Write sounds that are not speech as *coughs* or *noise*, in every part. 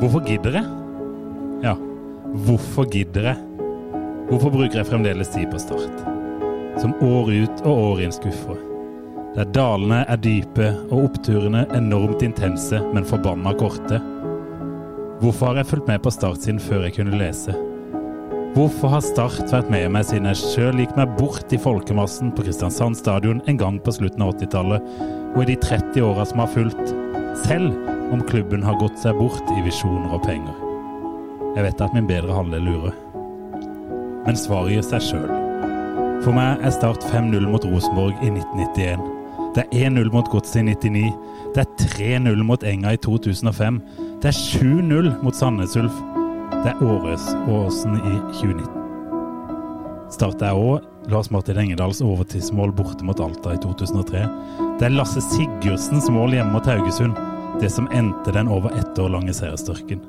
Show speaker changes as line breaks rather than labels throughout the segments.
Hvorfor gidder jeg? Ja, hvorfor gidder jeg? Hvorfor bruker jeg fremdeles tid på start? Som år ut og år inn skuffer. Der dalene er dype og oppturene enormt intense, men forbanna korte. Hvorfor har jeg fulgt med på Start siden før jeg kunne lese? Hvorfor har Start vært med meg siden jeg sjøl gikk meg bort i folkemassen på Kristiansand stadion en gang på slutten av 80-tallet, og i de 30 åra som har fulgt, selv om klubben har gått seg bort i visjoner og penger? Jeg vet at min bedre halvdel lurer. Men svaret gir seg sjøl. For meg er Start 5-0 mot Rosenborg i 1991. Det er 1-0 mot Godset i 99. Det er 3-0 mot Enga i 2005. Det er 7-0 mot Sandnes Ulf. Det er Åres og Åsen i 2019. Start er òg Lars Martin Engedals overtidsmål borte mot Alta i 2003. Det er Lasse Sigurdsens mål hjemme mot Haugesund. Det som endte den over ett år lange seierstørken.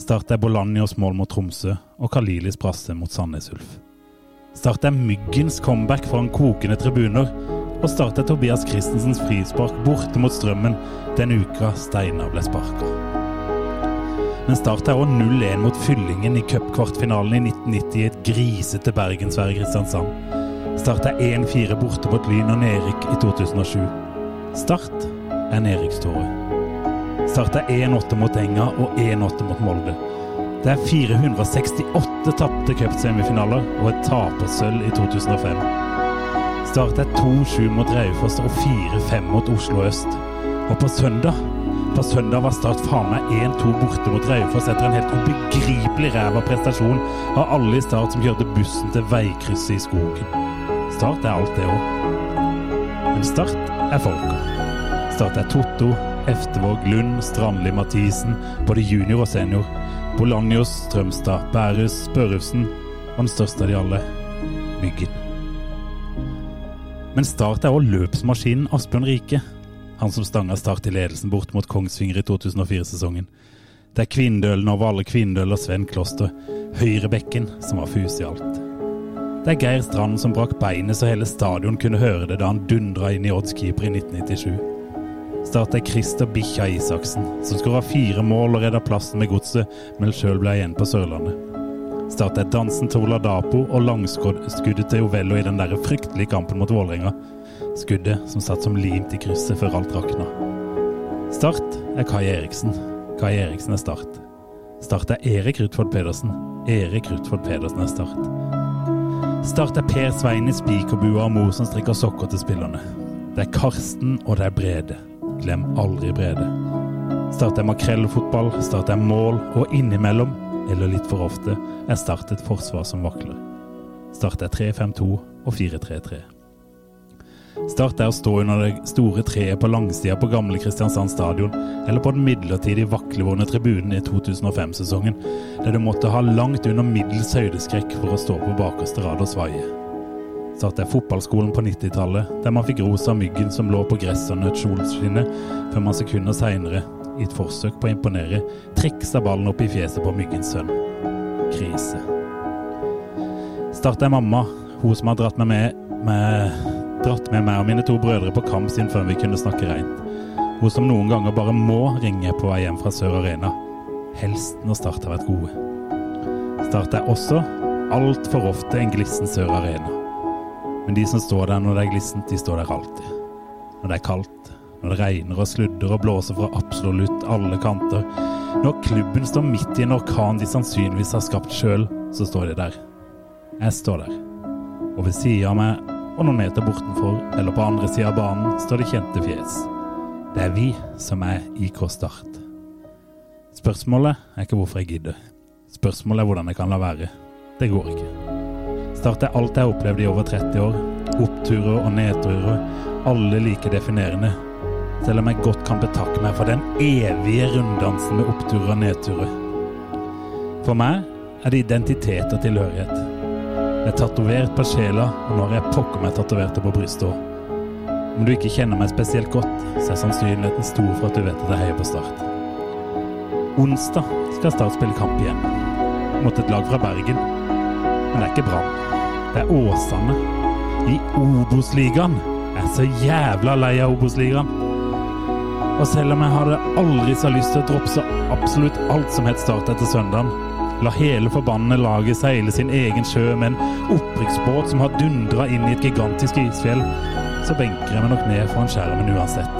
Start er Bolanjos mål mot Tromsø og Kalilis brasse mot Sandnes Ulf. Start er Myggens comeback foran kokende tribuner. Og start er Tobias Christensens frispark borte mot Strømmen den uka Steinar ble sparka. Men Start er òg 0-1 mot Fyllingen i cupkvartfinalen i 1990 i et grisete bergensvær i Kristiansand. Start er 1-4 E borte mot Lyn og Nerik i 2007. Start er nedrykkståret. Start er 1-8 mot Enga og 1-8 mot Molde. Det er 468 tapte cupsemifinaler og et tapersølv i 2005. Start er 2-7 mot Raufoss og 4-5 mot Oslo øst. Og på søndag på søndag var Start faen meg 1-2 borte mot Raufoss etter en helt ubegripelig ræva prestasjon av alle i Start som kjørte bussen til veikrysset i skogen. Start er alt det òg. Men Start er folka. Start er Totto, Eftevåg, Lund, Strandli, Mathisen, både junior og senior. Bolanjos, Strømstad, Bærus, Børufsen og den største av de alle, Myggen. Men Start er også løpsmaskinen Asbjørn Rike. Han som stanga Start i ledelsen bort mot Kongsvinger i 2004-sesongen. Det er Kvindølen over alle Kvindøl og Sven Kloster. Høyrebekken som var fuse i alt. Det er Geir Strand som brakk beinet så hele stadion kunne høre det da han dundra inn i oddskeeper i 1997. Start er Christer Bikkja Isaksen, som skåra fire mål og redda plassen med godset, men sjøl ble igjen på Sørlandet. Start er dansen til Ola Dapo og langskuddet til Ovello i den der fryktelige kampen mot Vålerenga. Skuddet som satt som limt i krysset før alt rakna. Start er Kai Eriksen. Kai Eriksen er Start. Start er Erik Rutford Pedersen. Erik Rutford Pedersen er Start. Start er Per Svein i spikerbua og mor som strikker sokker til spillerne. Det er Karsten, og det er Brede. Glem aldri Brede. Start er makrellfotball, Start er mål, og innimellom, eller litt for ofte, er Start et forsvar som vakler. Start er 3-5-2 og 4-3-3. Start er å stå under det store treet på langsida på gamle Kristiansand stadion, eller på den midlertidig vaklevående tribunen i 2005-sesongen, der du måtte ha langt under middels høydeskrekk for å stå på bakerste rad og svaie. Start er fotballskolen på 90-tallet, der man fikk ros av myggen som lå på gresset og nøt solskinnet, før man sekunder seinere, i et forsøk på å imponere, triksa ballen opp i fjeset på myggens sønn. Krise. Start er mamma, hun som har dratt meg med, med dratt med meg og mine to brødre på kamp siden før vi kunne snakke reint. Hun som noen ganger bare må ringe på vei hjem fra Sør Arena. Helst når Start har vært gode. Start er også altfor ofte en glissen Sør Arena. Men de som står der når det er glissent, de står der alltid. Når det er kaldt, når det regner og sludder og blåser fra absolutt alle kanter. Når klubben står midt i en orkan de sannsynligvis har skapt sjøl, så står de der. Jeg står der. Og ved sida av meg og noen meter bortenfor eller på andre sida av banen står det kjente fjes. Det er vi som er IK Start. Spørsmålet er ikke hvorfor jeg gidder. Spørsmålet er hvordan jeg kan la være. Det går ikke. Start er alt jeg har opplevd i over 30 år. Oppturer og nedturer. Alle like definerende. Selv om jeg godt kan betakke meg for den evige runddansen med oppturer og nedturer. For meg er det identitet og tilhørighet. Jeg er tatovert på sjela, og nå har jeg pokker meg tatovert det på brystet òg. Om du ikke kjenner meg spesielt godt, så er sannsynligheten stor for at du vet at jeg heier på Start. Onsdag skal Start spille kamp igjen, mot et lag fra Bergen. Men det er ikke Brann. Det er Åsane. I Obos-ligaen. Jeg er så jævla lei av Obos-ligaen. Og selv om jeg hadde aldri så lyst til å dropse absolutt alt som het Start etter søndagen, la hele forbannede laget seile sin egen sjø med en opprykksbåt som har dundra inn i et gigantisk isfjell, så benker jeg meg nok ned foran skjermen uansett.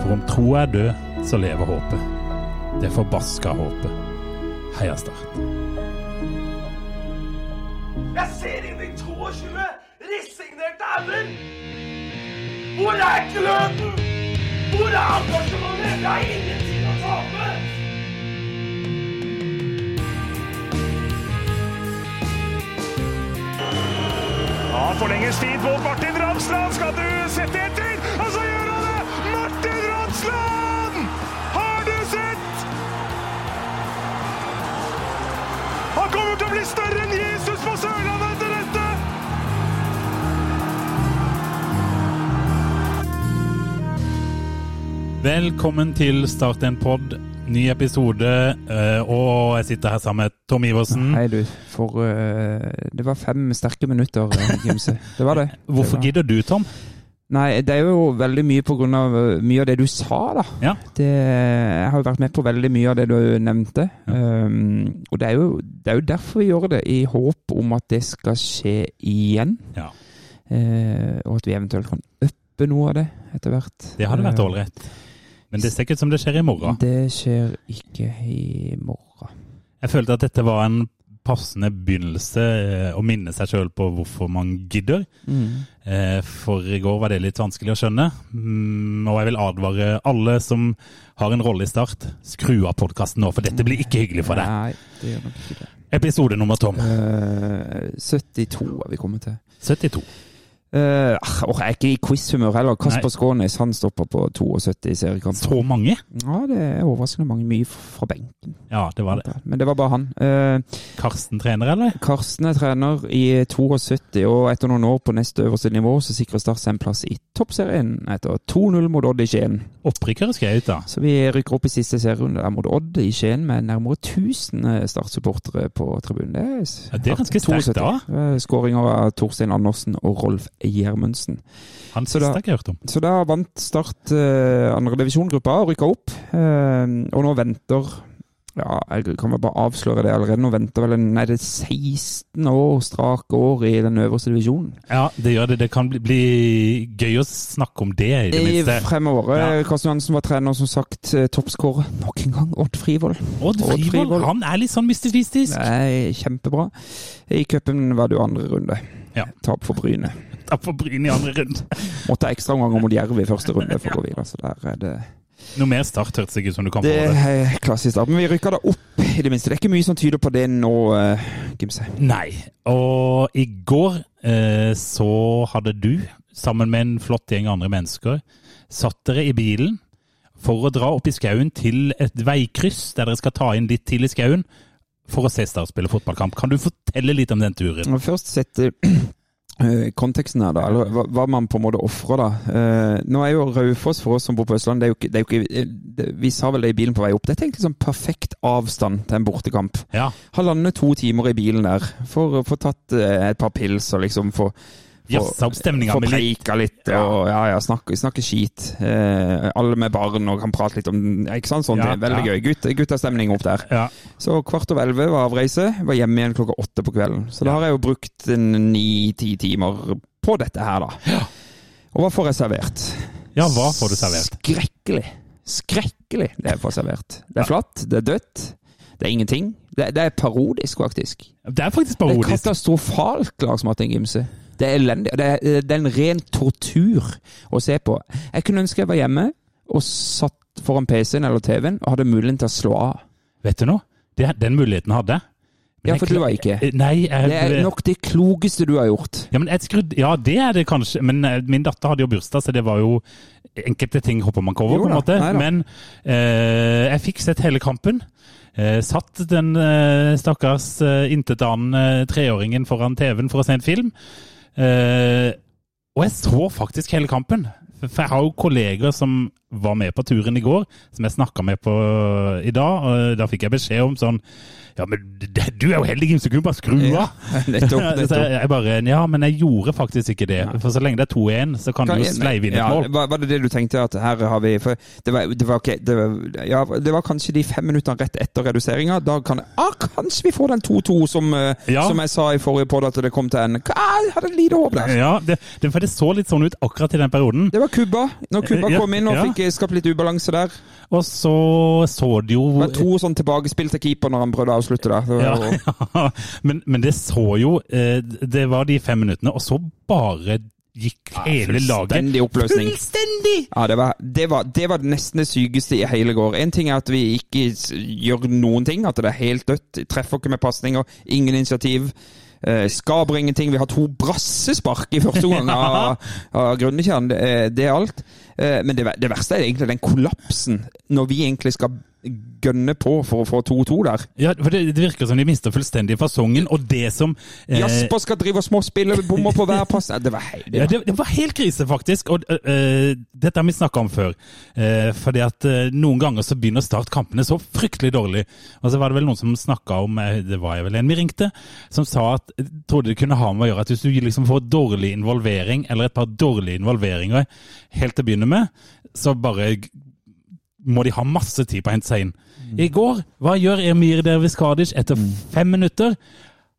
For om troa er død, så lever håpet. Det forbaska håpet. Heia Start.
Jeg ser inn i 22 resignerte ender! Hvor er gløden? Hvor er engasjementet? Jeg har ingenting å tape!
Ja, forlenges tid på Martin Ramsland. Skal du sette etter? Og så gjør han det! Martin Ramsland! Har du sett? Han kommer til å bli større enn Jesus på Sørlandet etter dette!
Velkommen til Start en pod. Ny episode, eh, og jeg sitter her sammen med Tom Iversen.
Hei, du. For eh, det var fem sterke minutter, eh, Gimse. Det var det.
*laughs*
Det
Hvorfor
var-
gidder du, Tom?
Nei, det er jo veldig mye på grunn av eh, mye av det du sa, da.
Ja.
Det, jeg har jo vært med på veldig mye av det du nevnte. Um, og det er, jo, det er jo derfor vi gjør det, i håp om at det skal skje igjen.
Ja.
Eh, og at vi eventuelt kan uppe noe av det etter hvert.
Det hadde vært
Eh,
ålreit. Men det ser ikke ut som det skjer i morgen.
Det skjer ikke i morgen.
Jeg følte at dette var en passende begynnelse eh, å minne seg sjøl på hvorfor man gidder.
Mm.
Eh, For i går var det litt vanskelig å skjønne. Mm, Og jeg vil advare alle som har en rolle i Start, skru av podkasten nå, for dette blir ikke hyggelig for deg.
Nei, det gjør nok ikke det.
Episode nummer tom.
Eh, 72 er vi kommet til.
72.
Eh, ah, åh, jeg er ikke i quiz-humør heller. Kasper
Nei.
Skånes han stopper på 72 i seriekamp.
Så mange?
Ja, det er overraskende mange. Mye fra benken.
Ja, det var det.
Men det var bare han. Eh,
Karsten trener, eller?
Karsten er trener i 72, og etter noen år på neste øverste nivå så sikrer Start seg en plass i toppserien etter 2-0 mot Odd i Skien.
Opprykkere skal jeg ut, da.
Så vi rykker opp i siste serierunde der mot Odd i Skien med nærmere 1000 Start-supportere på tribunen. Det er, s-
Ja, det er ganske sterkt, da.
72. Eh, Skåringer av Torstein Andersen og Rolf Gjermundsen.
Han
Så
siste
da-
har jeg ikke hørt om.
Så da vant Start eh, andredivisjongruppa og rykka opp. Eh, og nå venter Ja, jeg kan vel bare avsløre det allerede. Nå venter vel en, nei, det er 16 år, strake år i den øverste divisjonen.
Ja, det gjør det. Det kan bli, bli gøy å snakke om det, i det
I
minste.
fremover.
Ja.
Ja. Karsten Johansen var trener, som sagt. eh, Toppskårer nok en gang. Odd Frivold.
Odd
Odd
Frivold,
Frivold.
han er litt sånn mystifistisk.
Det er kjempebra. I cupen var det jo andre runde.
Ja.
Tap for Bryne.
Tapp for Bryn i andre runde.
Måtte ha ekstraomganger mot Jerv i første runde for å gå videre, så der er det
Noe mer Start hørtes ikke ut som du kom på. Det.
Det er klassisk. da. Men vi rykker da opp, i det minste. Det er ikke mye som tyder på det nå, uh, Gimse.
Nei. Og i går eh, så hadde du, sammen med en flott gjeng andre mennesker, satt dere i bilen for å dra opp i skauen til et veikryss der dere skal ta inn litt til i skauen for å se Start spille fotballkamp. Kan du fortelle litt om den turen?
Må Først sette eh, konteksten her, da. Eller hva, hva man på en måte ofrer, da. Eh, nå er jo Raufoss for oss som bor på Østlandet, det er jo ikke, det er jo ikke eh, det, Vi sa vel det i bilen på vei opp. Dette er egentlig sånn perfekt avstand til en bortekamp.
Ja,
Halvannen to timer i bilen der for å få tatt eh, et par pils og liksom få
Jazza opp stemninga
Få
med litt
preika litt og ja, ja, snakke, snakke skit. Eh, alle med barn og kan prate litt om ja, Ikke sant? Sånn,
Ja,
det er veldig
ja.
gøy. Gutt, guttastemning opp der.
ja.
Så kvart over elleve var avreise. Var hjemme igjen klokka åtte på kvelden. Så da har jeg jo brukt en ni-ti timer på dette her, da. Og hva får jeg servert?
ja, hva får du servert?
Skrekkelig. Skrekkelig det jeg får servert. Det
Ja.
er flatt, det er dødt, det er ingenting. Det, det er parodisk, faktisk.
Det er faktisk
Det er
parodisk.
katastrofalt, Lars Martin Gimse. Det er elendig. Det er, eh, det er en ren tortur å se på. Jeg kunne ønske jeg var hjemme og satt foran PC-en eller TV-en og hadde muligheten til å slå av.
Vet du noe? Det, den muligheten hadde jeg. Men
Ja,
jeg
for du
kla-
var ikke.
Nei, jeg,
Det er nok det klokeste du har gjort.
ja, men jeg skrudde, ja, det er det kanskje, men eh, min datter hadde jo bursdag, så det var jo enkelte ting hopper man ikke over,
Jo
på en
da,
måte.
nei da.
Men eh, jeg fikk sett hele kampen. Eh, satt den eh, stakkars eh, intetanende eh, treåringen foran TV-en for å se en film. Eh, og jeg så faktisk hele kampen. For jeg har jo kolleger som var med på turen i går, som jeg snakka med på i dag. og Da fikk jeg beskjed om sånn Ja, men d- du er jo heldig, så kunne du bare skru av!
Ja, *laughs* nettopp.
så
nettopp.
jeg, jeg bare Ja, men jeg gjorde faktisk ikke det. For så lenge det er 2-1, så kan du jo sleive inn et
ja,
mål.
Var, var det det du tenkte at her har vi For det var, det var, ok, det var, ja, det var kanskje de fem minuttene rett etter reduseringa. Da kan jeg, ah, kanskje vi får den 2-2 som, eh,
Ja.
som jeg sa i forrige podd at det kom til en ah, Jeg hadde et lite håp der.
Ja, det, det, for det så litt sånn ut akkurat i den perioden.
Det var Cuba. Når Cuba
Ja,
kom inn og
ja.
fikk eh, skapt litt ubalanse der.
Og så så det jo
Det var to sånn tilbakespill til keeper når han prøvde å avslutte der. Det var,
*laughs* ja, ja. Men, men det så jo eh, Det var de fem minuttene, og så bare gikk hele laget
Fullstendig oppløsning.
Fullstendig!
Ja, det var, det, var, det var nesten det sykeste i hele går. En ting er at vi ikke s- gjør noen ting, at det er helt dødt. Treffer ikke med pasninger, ingen initiativ. Eh, skaper ingenting. Vi har to brassespark i
*laughs*
første omgang av, av Grunnekjern. Det, er- det er alt. Eh, men det, ver- det verste er egentlig den kollapsen, når vi egentlig skal gønne på for å få 2-2 der.
Ja, for det, det virker som de mister fullstendig fasongen, og det som eh,
Jasper skal drive og småspille, bommer på hver pass. Nei, Det var helt
Ja, det, det var helt krise, faktisk. Og eh, eh, dette har vi snakka om før. Eh, fordi at eh, noen ganger så begynner Start kampene så fryktelig dårlig. Og så var det vel noen som snakka om eh, Det var jeg vel en vi ringte, som sa at eh, trodde det kunne ha med å gjøre at hvis du liksom får dårlig involvering, eller et par dårlige involveringer helt til å begynne med, så bare g- må de ha masse tid på å hente seg inn.
Mm.
I går, hva gjør Emir Derviskadic etter fem minutter?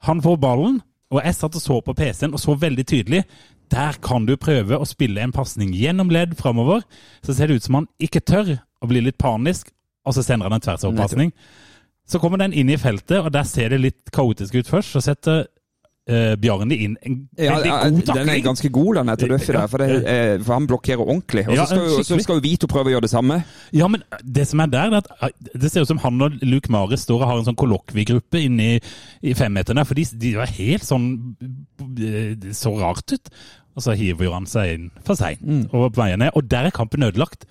Han får ballen, og jeg satt og så på PC-en og så veldig tydelig. Der kan du prøve å spille en pasning gjennom ledd framover. Så ser det ut som han ikke tør å bli litt panisk, og så sender han en tversoverpasning. Så kommer den inn i feltet, og der ser det litt kaotisk ut først. Så setter eh, Bjarni inn en
Ja,
veldig
ja,
god
den er
takling.
ganske god, den etter Duffy der. For, det, eh, for han blokkerer ordentlig. Og
Ja,
så skal, jo- så
skikkelig.
skal jo Vito prøve å gjøre det samme.
Ja, men det som er der, det er at eh, det ser ut som han og Luke Maris står og har en sånn kollokviegruppe inne i, i femmeterne, for de, de var helt sånn eh, det så rart ut. Og så hiver jo han seg inn for seint
Mm.
og veier ned, og der er kampen ødelagt.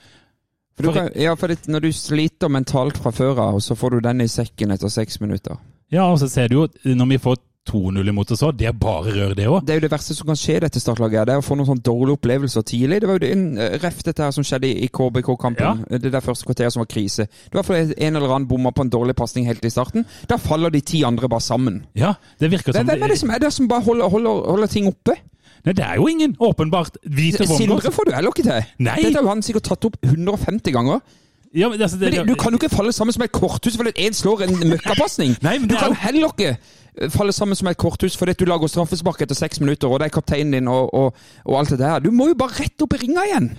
For du
For-
kan, ja, for det, når du sliter mentalt fra før av, og så får du den i sekken etter seks minutter.
Ja, og så ser du jo, når vi får 2-0 imot oss òg, det er bare rør, det òg.
Det er jo det verste som kan skje i dette startlaget. her, Det er å få noen sånne dårlige opplevelser tidlig. Det var jo det- en eh, ref dette her som skjedde i i KBK-kampen. Det der første kvarteret som var krise. Det var fordi en eller annen bomma på en dårlig pasning helt i starten. Da faller de ti andre bare sammen.
Ja, det virker som
Hvem er det som er der som bare holder, holder, holder ting oppe?
Nei, det er jo ingen, åpenbart. Vito Wongo.
Sindre får du heller ikke til.
Nei.
Dette har jo han sikkert tatt opp 150 ganger.
Ja, men altså, det-
Men det, du kan jo ikke falle sammen som et korthus fordi én slår en
*laughs*
møkkapasning.
Nei, men
Du
det er
kan
jo-
heller ikke eh, falle sammen som et korthus fordi at du lager straffespark etter seks minutter, og det er kapteinen din og, og, og alt det der. Du må jo bare rett opp i ringa igjen!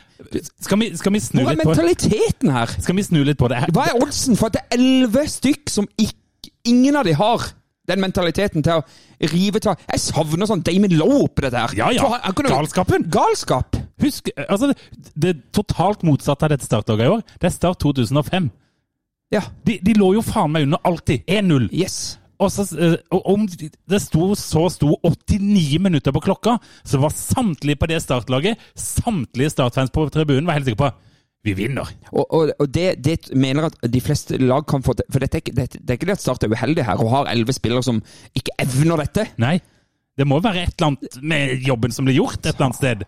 skal, vi, skal, vi snu
Hvor er
litt på,
mentaliteten her?
skal vi snu litt på det?
Hva er oddsen for at det er elleve stykk som ikk- ingen av de har? Den mentaliteten til å rive ta Jeg savner sånn Damon Lowe oppi dette her.
Ja, ja.
For han- han kunne-
Galskapen.
Galskap!
Husk, altså det, det er totalt motsatt av dette startlaget i år. Det er Start 2005.
Ja.
De, de lå jo faen meg under alltid. 1-0.
Yes.
Og så, eh, og om det sto, så sto 89 minutter på klokka, så var samtlige på det startlaget, samtlige Start-fans på tribunen, var helt sikre på vi vinner.
Og, og, og det, det mener jeg at de fleste lag kan få til. For dette, er ikke- det, det er ikke det at Start er uheldig her og har elleve spillere som ikke evner dette.
Nei. Det må være et eller annet med jobben som blir gjort et eller annet sted.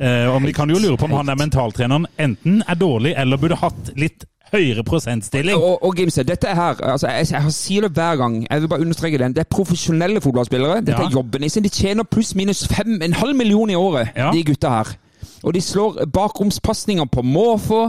Eh, og de kan jo lure på om han der mentaltreneren enten er dårlig eller burde hatt litt høyere prosentstilling.
Og, og Gimse, dette er her altså jeg, jeg har sier det hver gang, jeg vil bare understreke det. Det er profesjonelle fotballspillere. Dette
Ja.
er jobben deres. De tjener pluss minus fem, en halv million i året,
Ja.
de gutta her. Og de slår bakromspasninger på måfå.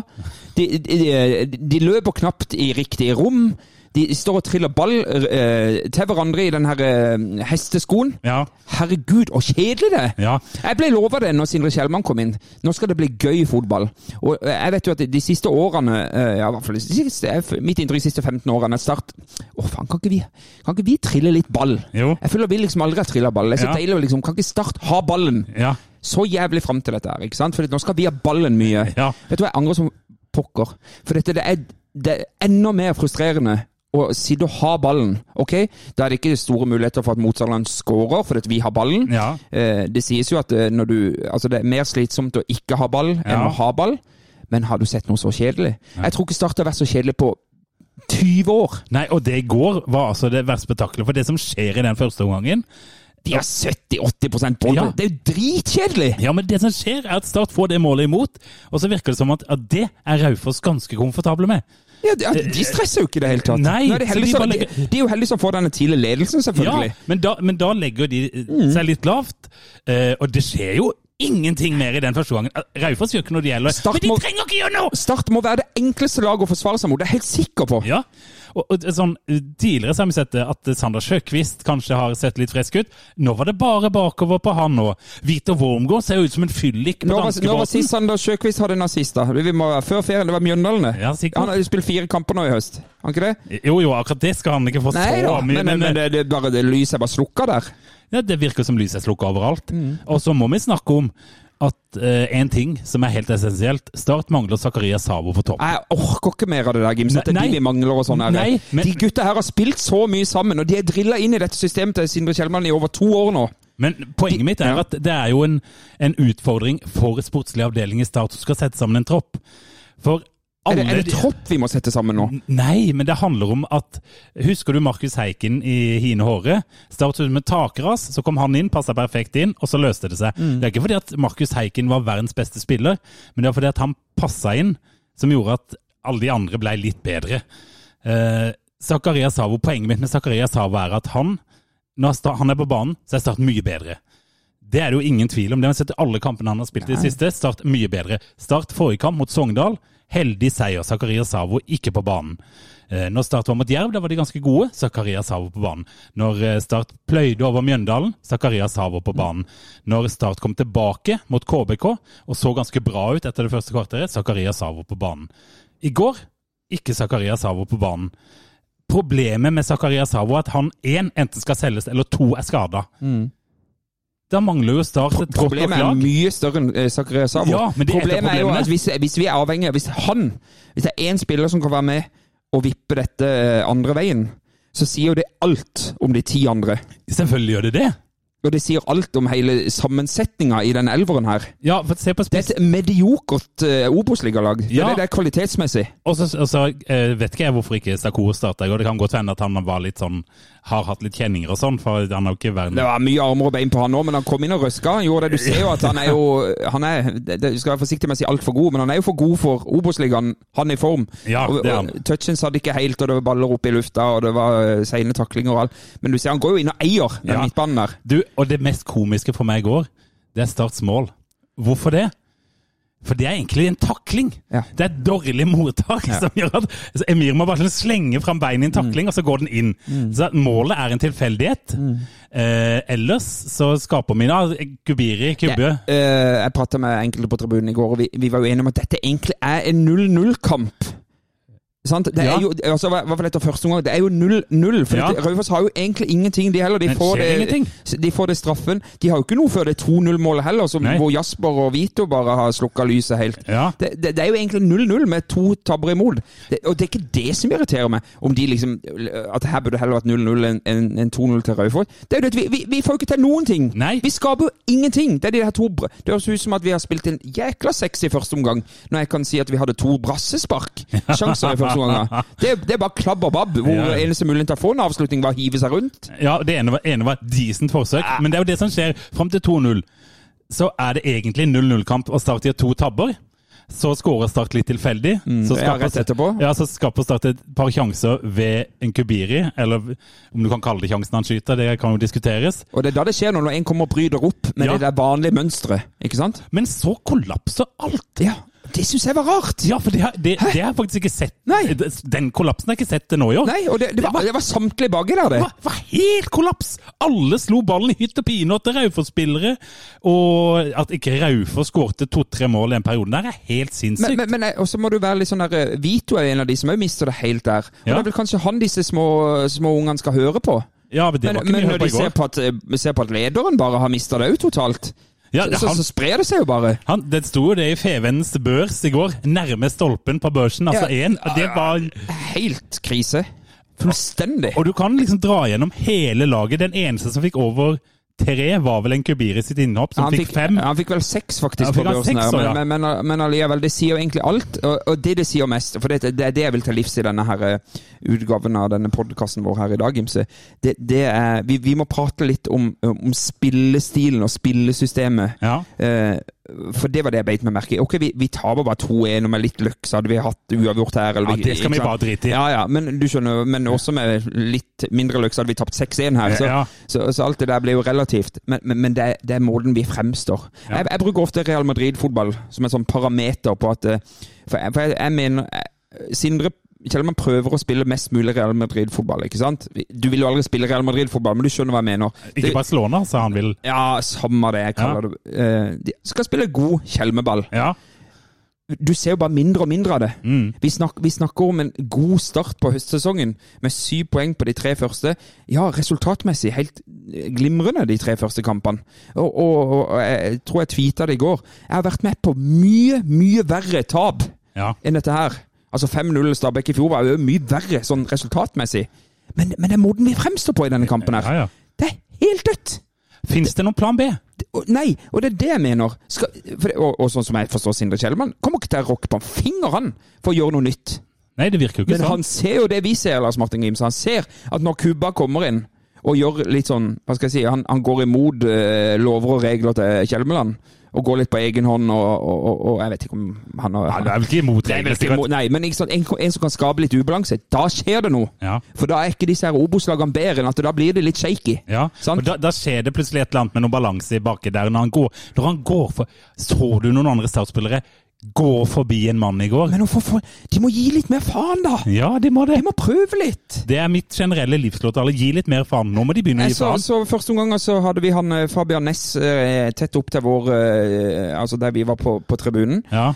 De, de, de, de løper knapt i riktige rom. De står og triller ball eh, til hverandre i den her eh, hesteskoen.
Ja.
Herregud, og kjedelig det!
Ja.
Jeg ble lova det når Sindre Kjellmann kom inn. Nå skal det bli gøy fotball. Og eh, jeg vet jo at de siste årene eh, Ja, i hvert fall de siste, eh, mitt inntrykk de siste 15 årene er Start Å, faen, kan ikke, vi, kan ikke vi trille litt ball?
Jo.
Jeg føler vi liksom aldri har trilla ball. Det er så
Ja.
deilig å liksom Kan ikke Start ha ballen?
Ja.
Så jævlig fram til dette her, ikke sant? For nå skal vi ha ballen mye.
Ja.
Vet du hva, jeg angrer som pokker. For dette, det er, det er enda mer frustrerende å sitte og ha ballen, ok? Da er det ikke store muligheter for at motstanderen scorer, fordi at vi har ballen.
Ja.
Eh, det sies jo at eh, når du, altså det er mer slitsomt å ikke ha ball enn
Ja.
å ha ball. Men har du sett noe så kjedelig? Jeg tror ikke Start har vært så kjedelig på 20 år.
Nei, og det i går var altså det verste spetakkelet. For det som skjer i den første omgangen,
De har 70-80 bånd!
Ja.
Det er jo dritkjedelig!
Ja, men det som skjer, er at Start får det målet imot, og så virker det som at, at det er Raufoss ganske komfortable med.
Ja, de, ja, de stresser jo ikke i det hele
Eh,
tatt.
Nei, så
det, er
de
heldig som,
bare
de,
legger-
de er jo heldige som får denne tidlige ledelsen,
Ja,
selvfølgelig.
men da, men da legger de eh, seg litt lavt, eh, og det skjer jo ingenting mer i den første gangen. Eh, Raufoss gjør ikke noe de gjelder,
Start
men de
må-
trenger ikke gjøre noe!
Start må være det enkleste laget å forsvare seg mot, det er jeg helt sikker på.
Ja, og, og det er sånn, eh, Tidligere så har vi sett det at eh, Sander Sjøkvist kanskje har sett litt frisk ut. Nå var det bare bakover på han nå. Vito Wormgård ser jo ut som en fyllik på
Når var, når var
danskebåten.
sist Sander Sjøkvist hadde en assist, da? Vi må, før ferien, det var Mjøndalene.
Ja, sikkert.
han har jo spilt fire kamper nå i høst, har han ikke det?
Jo, jo, akkurat det skal han ikke få
Nei da,
så
men,
mye.
men, men det, det, er bare, det lyset er bare slukka der.
Ja, det virker som lyset er slukket overalt.
Mm.
Og så må vi snakke om at eh, en ting som er helt essensielt Start mangler Zakaria Sabo på topp.
Jeg orker ikke mer av det der, Gims. At det er
Nei.
de vi mangler og sånn. her.
Nei, men-
De gutta her har spilt så mye sammen, og de er drilla inn i dette systemet til Sindre Kjellmann i over to år nå.
Men poenget mitt er
ja.
at det er jo en, en utfordring for sportslig avdeling i Start som skal sette sammen en tropp. For
Er
alle
det, er det
de-
tropp vi må sette sammen nå?
Nei, men det handler om at Husker du Markus Heiken i Hine Håre? Startet ut med takras, så kom han inn, passa perfekt inn, og så løste det seg. Det er ikke fordi at Markus Heiken var verdens beste spiller, men det er fordi at han passa inn, som gjorde at alle de andre blei litt bedre. Eh, Zakaria Savo, Poenget mitt med Zakaria Savo er at han, når sta- han er på banen, så er Start mye bedre. Det er det jo ingen tvil om. Det har vi sett i alle kampene han har spilt i det siste. Start mye bedre. Start forrige kamp mot Sogndal. Heldig seier. Zakaria Savo ikke på banen. Eh, Når Start var mot Jerv, da var de ganske gode. Zakaria Savo på banen. Når eh, Start pløyde over Mjøndalen, Zakaria Savo på banen. Når Start kom tilbake mot KBK og så ganske bra ut etter det første kvarteret, Zakaria Savo på banen. I går ikke Zakaria Savo på banen. Problemet med Zakaria Savo er at han én en, enten skal selges, eller to er skada. Da mangler jo Start et godt nok
Problemet er
lag.
mye større enn eh, Zakaria Sabo.
Ja, men det er et av
Problemet er jo
problemene.
at hvis, hvis vi er avhengig av Hvis han Hvis det er én spiller som kan være med og vippe dette eh, andre veien, så sier jo det alt om de ti andre.
Selvfølgelig gjør det det.
Og det sier alt om hele sammensetninga i den elveren her.
Ja, for se på
Det
spiss.
er et mediokert eh, Obos-ligalag. Det, er
Ja.
det det er kvalitetsmessig.
Og så og så, eh, vet ikke jeg hvorfor ikke Sakura starta i går. Det kan godt hende at han var litt sånn Har hatt litt kjenninger og sånn, for han er jo ikke verden
Det var mye armer og bein på han nå, men han kom inn og røska. Han gjorde det. Du ser jo at han er jo han er, det, det- skal være forsiktig med å si altfor god, men han er jo for god for Obos-ligaen. Han er i form.
Ja,
og,
det er han.
og touchen satt ikke helt, og det var baller opp i lufta, og det var eh, seine taklinger og alt. Men du ser han går jo inn og eier den
Ja.
midtbanen der.
Du, og det mest komiske for meg i går, det er Starts mål. Hvorfor det? For det er egentlig en takling.
Ja.
Det er et dårlig mottak som gjør at så Emir må bare slenge fram beinet i en
Mm.
takling, og så går den inn. Så at målet er en tilfeldighet.
Mm.
Eh, ellers så skaper vi da Kubiri, Kubbe.
Jeg, eh, jeg prata med enkelte på tribunen i går, og vi, vi var jo enige om at dette egentlig er en 0-0-kamp. Sant? Det er
Ja.
jo, altså, i hvert fall etter første omgang, det er jo 0-0. For
Ja.
det- Raufoss har jo egentlig ingenting, de heller. De
Det
får
skjer
det,
ingenting.
de får det straffen. De har jo ikke noe før det 2-0-målet heller, som,
Nei.
hvor Jasper og Vito bare har slukka lyset helt.
Ja.
Det, det, det er jo egentlig 0-0 med to tabber imot. Det, og det er ikke det som irriterer meg, om de liksom At her burde det heller vært 0-0 enn enn- enn 2-0 til Raufoss. Det er jo det at vi, vi, vi får jo ikke til noen ting.
Nei.
Vi skaper jo ingenting. Det er de her to br- Det høres ut som at vi har spilt en jækla sexy første omgang, når jeg kan si at vi hadde to brassespark-sjanser i første omgang. da. Det, det er bare klabb og babb, hvor
Ja.
eneste muligheten til å få en avslutning var å hive seg rundt.
Ja, det ene var, ene var et decent forsøk, men det er jo det som skjer fram til 2-0. Så er det egentlig 0-0-kamp, og Start gjør to tabber. Så skårer Start litt tilfeldig. så
Mm. ja, rett etterpå.
Ja, så skaper Start et par sjanser ved en Kubiri, eller om du kan kalle det sjansen han skyter, det kan jo diskuteres.
Og det er da det skjer noe, når en kommer og bryter opp med
Ja.
det der vanlige mønsteret. Ikke sant?
Men så kollapser alt!
Ja. Det syns jeg var rart.
Ja, for det har, det, det har jeg faktisk ikke sett.
Nei.
Den kollapsen har jeg ikke sett til nå i år.
Nei, og det, det, var, det var samtlige baki der, det.
Det var, var helt kollaps! Alle slo ballen i hytt og pine til Raufoss-spillere. Og at ikke Raufoss skårte to-tre mål i en periode der, er helt
Men,
sinnssykt.
men, men og så må du være litt sånn der eh, Vito er en av de som òg mister det helt der. Og
Ja.
Det er vel kanskje han disse små, små ungene skal høre på.
ja, men det
Men,
var ikke
men
mye
når de
på i
ser
går.
på, at, eh, ser på at lederen bare har mista det òg totalt,
Ja,
så,
han-
så sprer det seg jo bare.
Han, det sto jo det i Fevens børs i går, nærme stolpen på børsen, altså
Ja.
én. og det var...
Helt krise. Fullstendig.
Og du kan liksom dra gjennom hele laget. Den eneste som fikk over tre var vel en Kubiri sitt innhopp, som
han
fikk, fem.
Han fikk vel seks,
Ja,
faktisk.
han
på
fikk han
børsen her,
seks, ja.
men, men, men, men allikevel, det sier jo egentlig alt. Og, og det det sier mest, for det, det er det jeg vil ta livs i denne her eh, utgaven av denne podkasten vår her i dag, Gimse. Det, det er, vi, vi må prate litt om, om spillestilen og spillesystemet.
Ja.
Eh, for det var det jeg beit meg merke i. Ok, vi, vi taper bare 2-1, og med litt løkk så hadde vi hatt uavgjort her. Eller,
Ja, det skal
ikke
vi
sant?
bare drite i.
Ja, ja, men du skjønner, men også med litt mindre løkk så hadde vi tapt 6-1 her. Så,
Ja.
så, så alt det der ble jo relativt. Men, men, men det, det er måten vi fremstår.
Ja.
Jeg, jeg bruker ofte Real Madrid-fotball som en sånn parameter på at eh, For jeg, for jeg, jeg mener jeg- Sindre Kjellmann prøver å spille mest mulig Real Madrid-fotball, ikke sant? Du vil jo aldri spille Real Madrid-fotball, men du skjønner hva jeg mener.
Ikke
Det-
Barcelona, sa han vil.
ja, samme det. Jeg kaller det Eh, De skal spille god kjelmeball.
Ja.
Du ser jo bare mindre og mindre av det.
Mm.
Vi, snak, vi snakker om en god start på høstsesongen, med syv poeng på de tre første. Ja, resultatmessig helt eh, glimrende, de tre første kampene. Og, og, og jeg tror jeg tweeta det i går. Jeg har vært med på mye, mye verre tap
Ja.
enn dette her. Altså 5-0 Stabæk i fjor var jo mye verre sånn resultatmessig. Men, men det er måten vi fremstår på i denne kampen
ja,
her.
ja.
Det er helt dødt!
Fins det noen plan B?
Og- Nei, og det er det jeg mener. Skal, for det, og, og sånn som jeg forstår Sindre Kjellmann, kommer ikke til å rokke på en finger han for å gjøre noe nytt.
Nei, det virker jo ikke
Men
sånn.
han ser jo det vi ser, Lars Martin Grimse. Han ser at når Cuba kommer inn og gjør litt sånn Hva skal jeg si? Han, han går imot eh, lover og regler til Kjelmeland. Og går litt på egen hånd og, og, og, og Jeg vet ikke om han har
Ja, det er vel ikke imot
Det er vel ikke
reglene?
imot- Nei, men ikke sant, en, en som kan skape litt ubalanse, da skjer det noe.
Ja.
For da er ikke disse her Obos-lagene bedre enn at da blir det litt shaky.
Ja,
Sant?
og da, da skjer det plutselig et eller annet med noen balanse i baki der når han går. Når han går for, Så du noen andre startspillere gå forbi en mann i går?
Men hvorfor får- De må gi litt mer faen, da!
Ja, de må det.
De må prøve litt!
Det er mitt generelle livslåt. Alle, gi litt mer faen. Nå må de begynne å
Jeg
gi
så,
faen.
så første omgang så hadde vi han eh, Fabian Næss eh, tett opp til vår eh, Altså der vi var på, på tribunen.
Ja,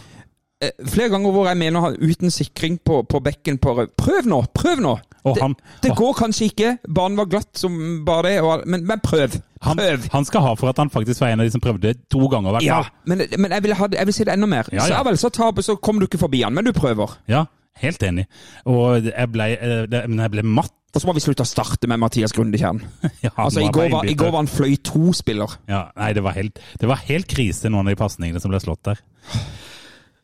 Eh, flere ganger hvor jeg mener han uten sikring på, på bekken på rød. Prøv nå! Prøv nå!
og
det
han,
det
og
går kanskje ikke. Banen var glatt som bare det, og, all- men, men prøv!
han,
Prøv!
han skal ha for at han faktisk var en av de som prøvde to ganger, i hvert
ja,
fall.
men, men jeg vil, ha, det- jeg vil si det enda mer.
Ja,
Så
ja.
ja vel, så taper, så kommer du ikke forbi han, men du prøver.
Ja, helt enig. Og jeg ble, eh, det- men jeg ble matt. *laughs*
Og så må vi slutte å starte med Mathias Grundekjern.
Ja, han
Altså, i går,
bare
var, I
innbytter.
går var han fløy to-spiller.
Ja, nei, det var helt, det var helt krise, noen av de pasningene som ble slått der.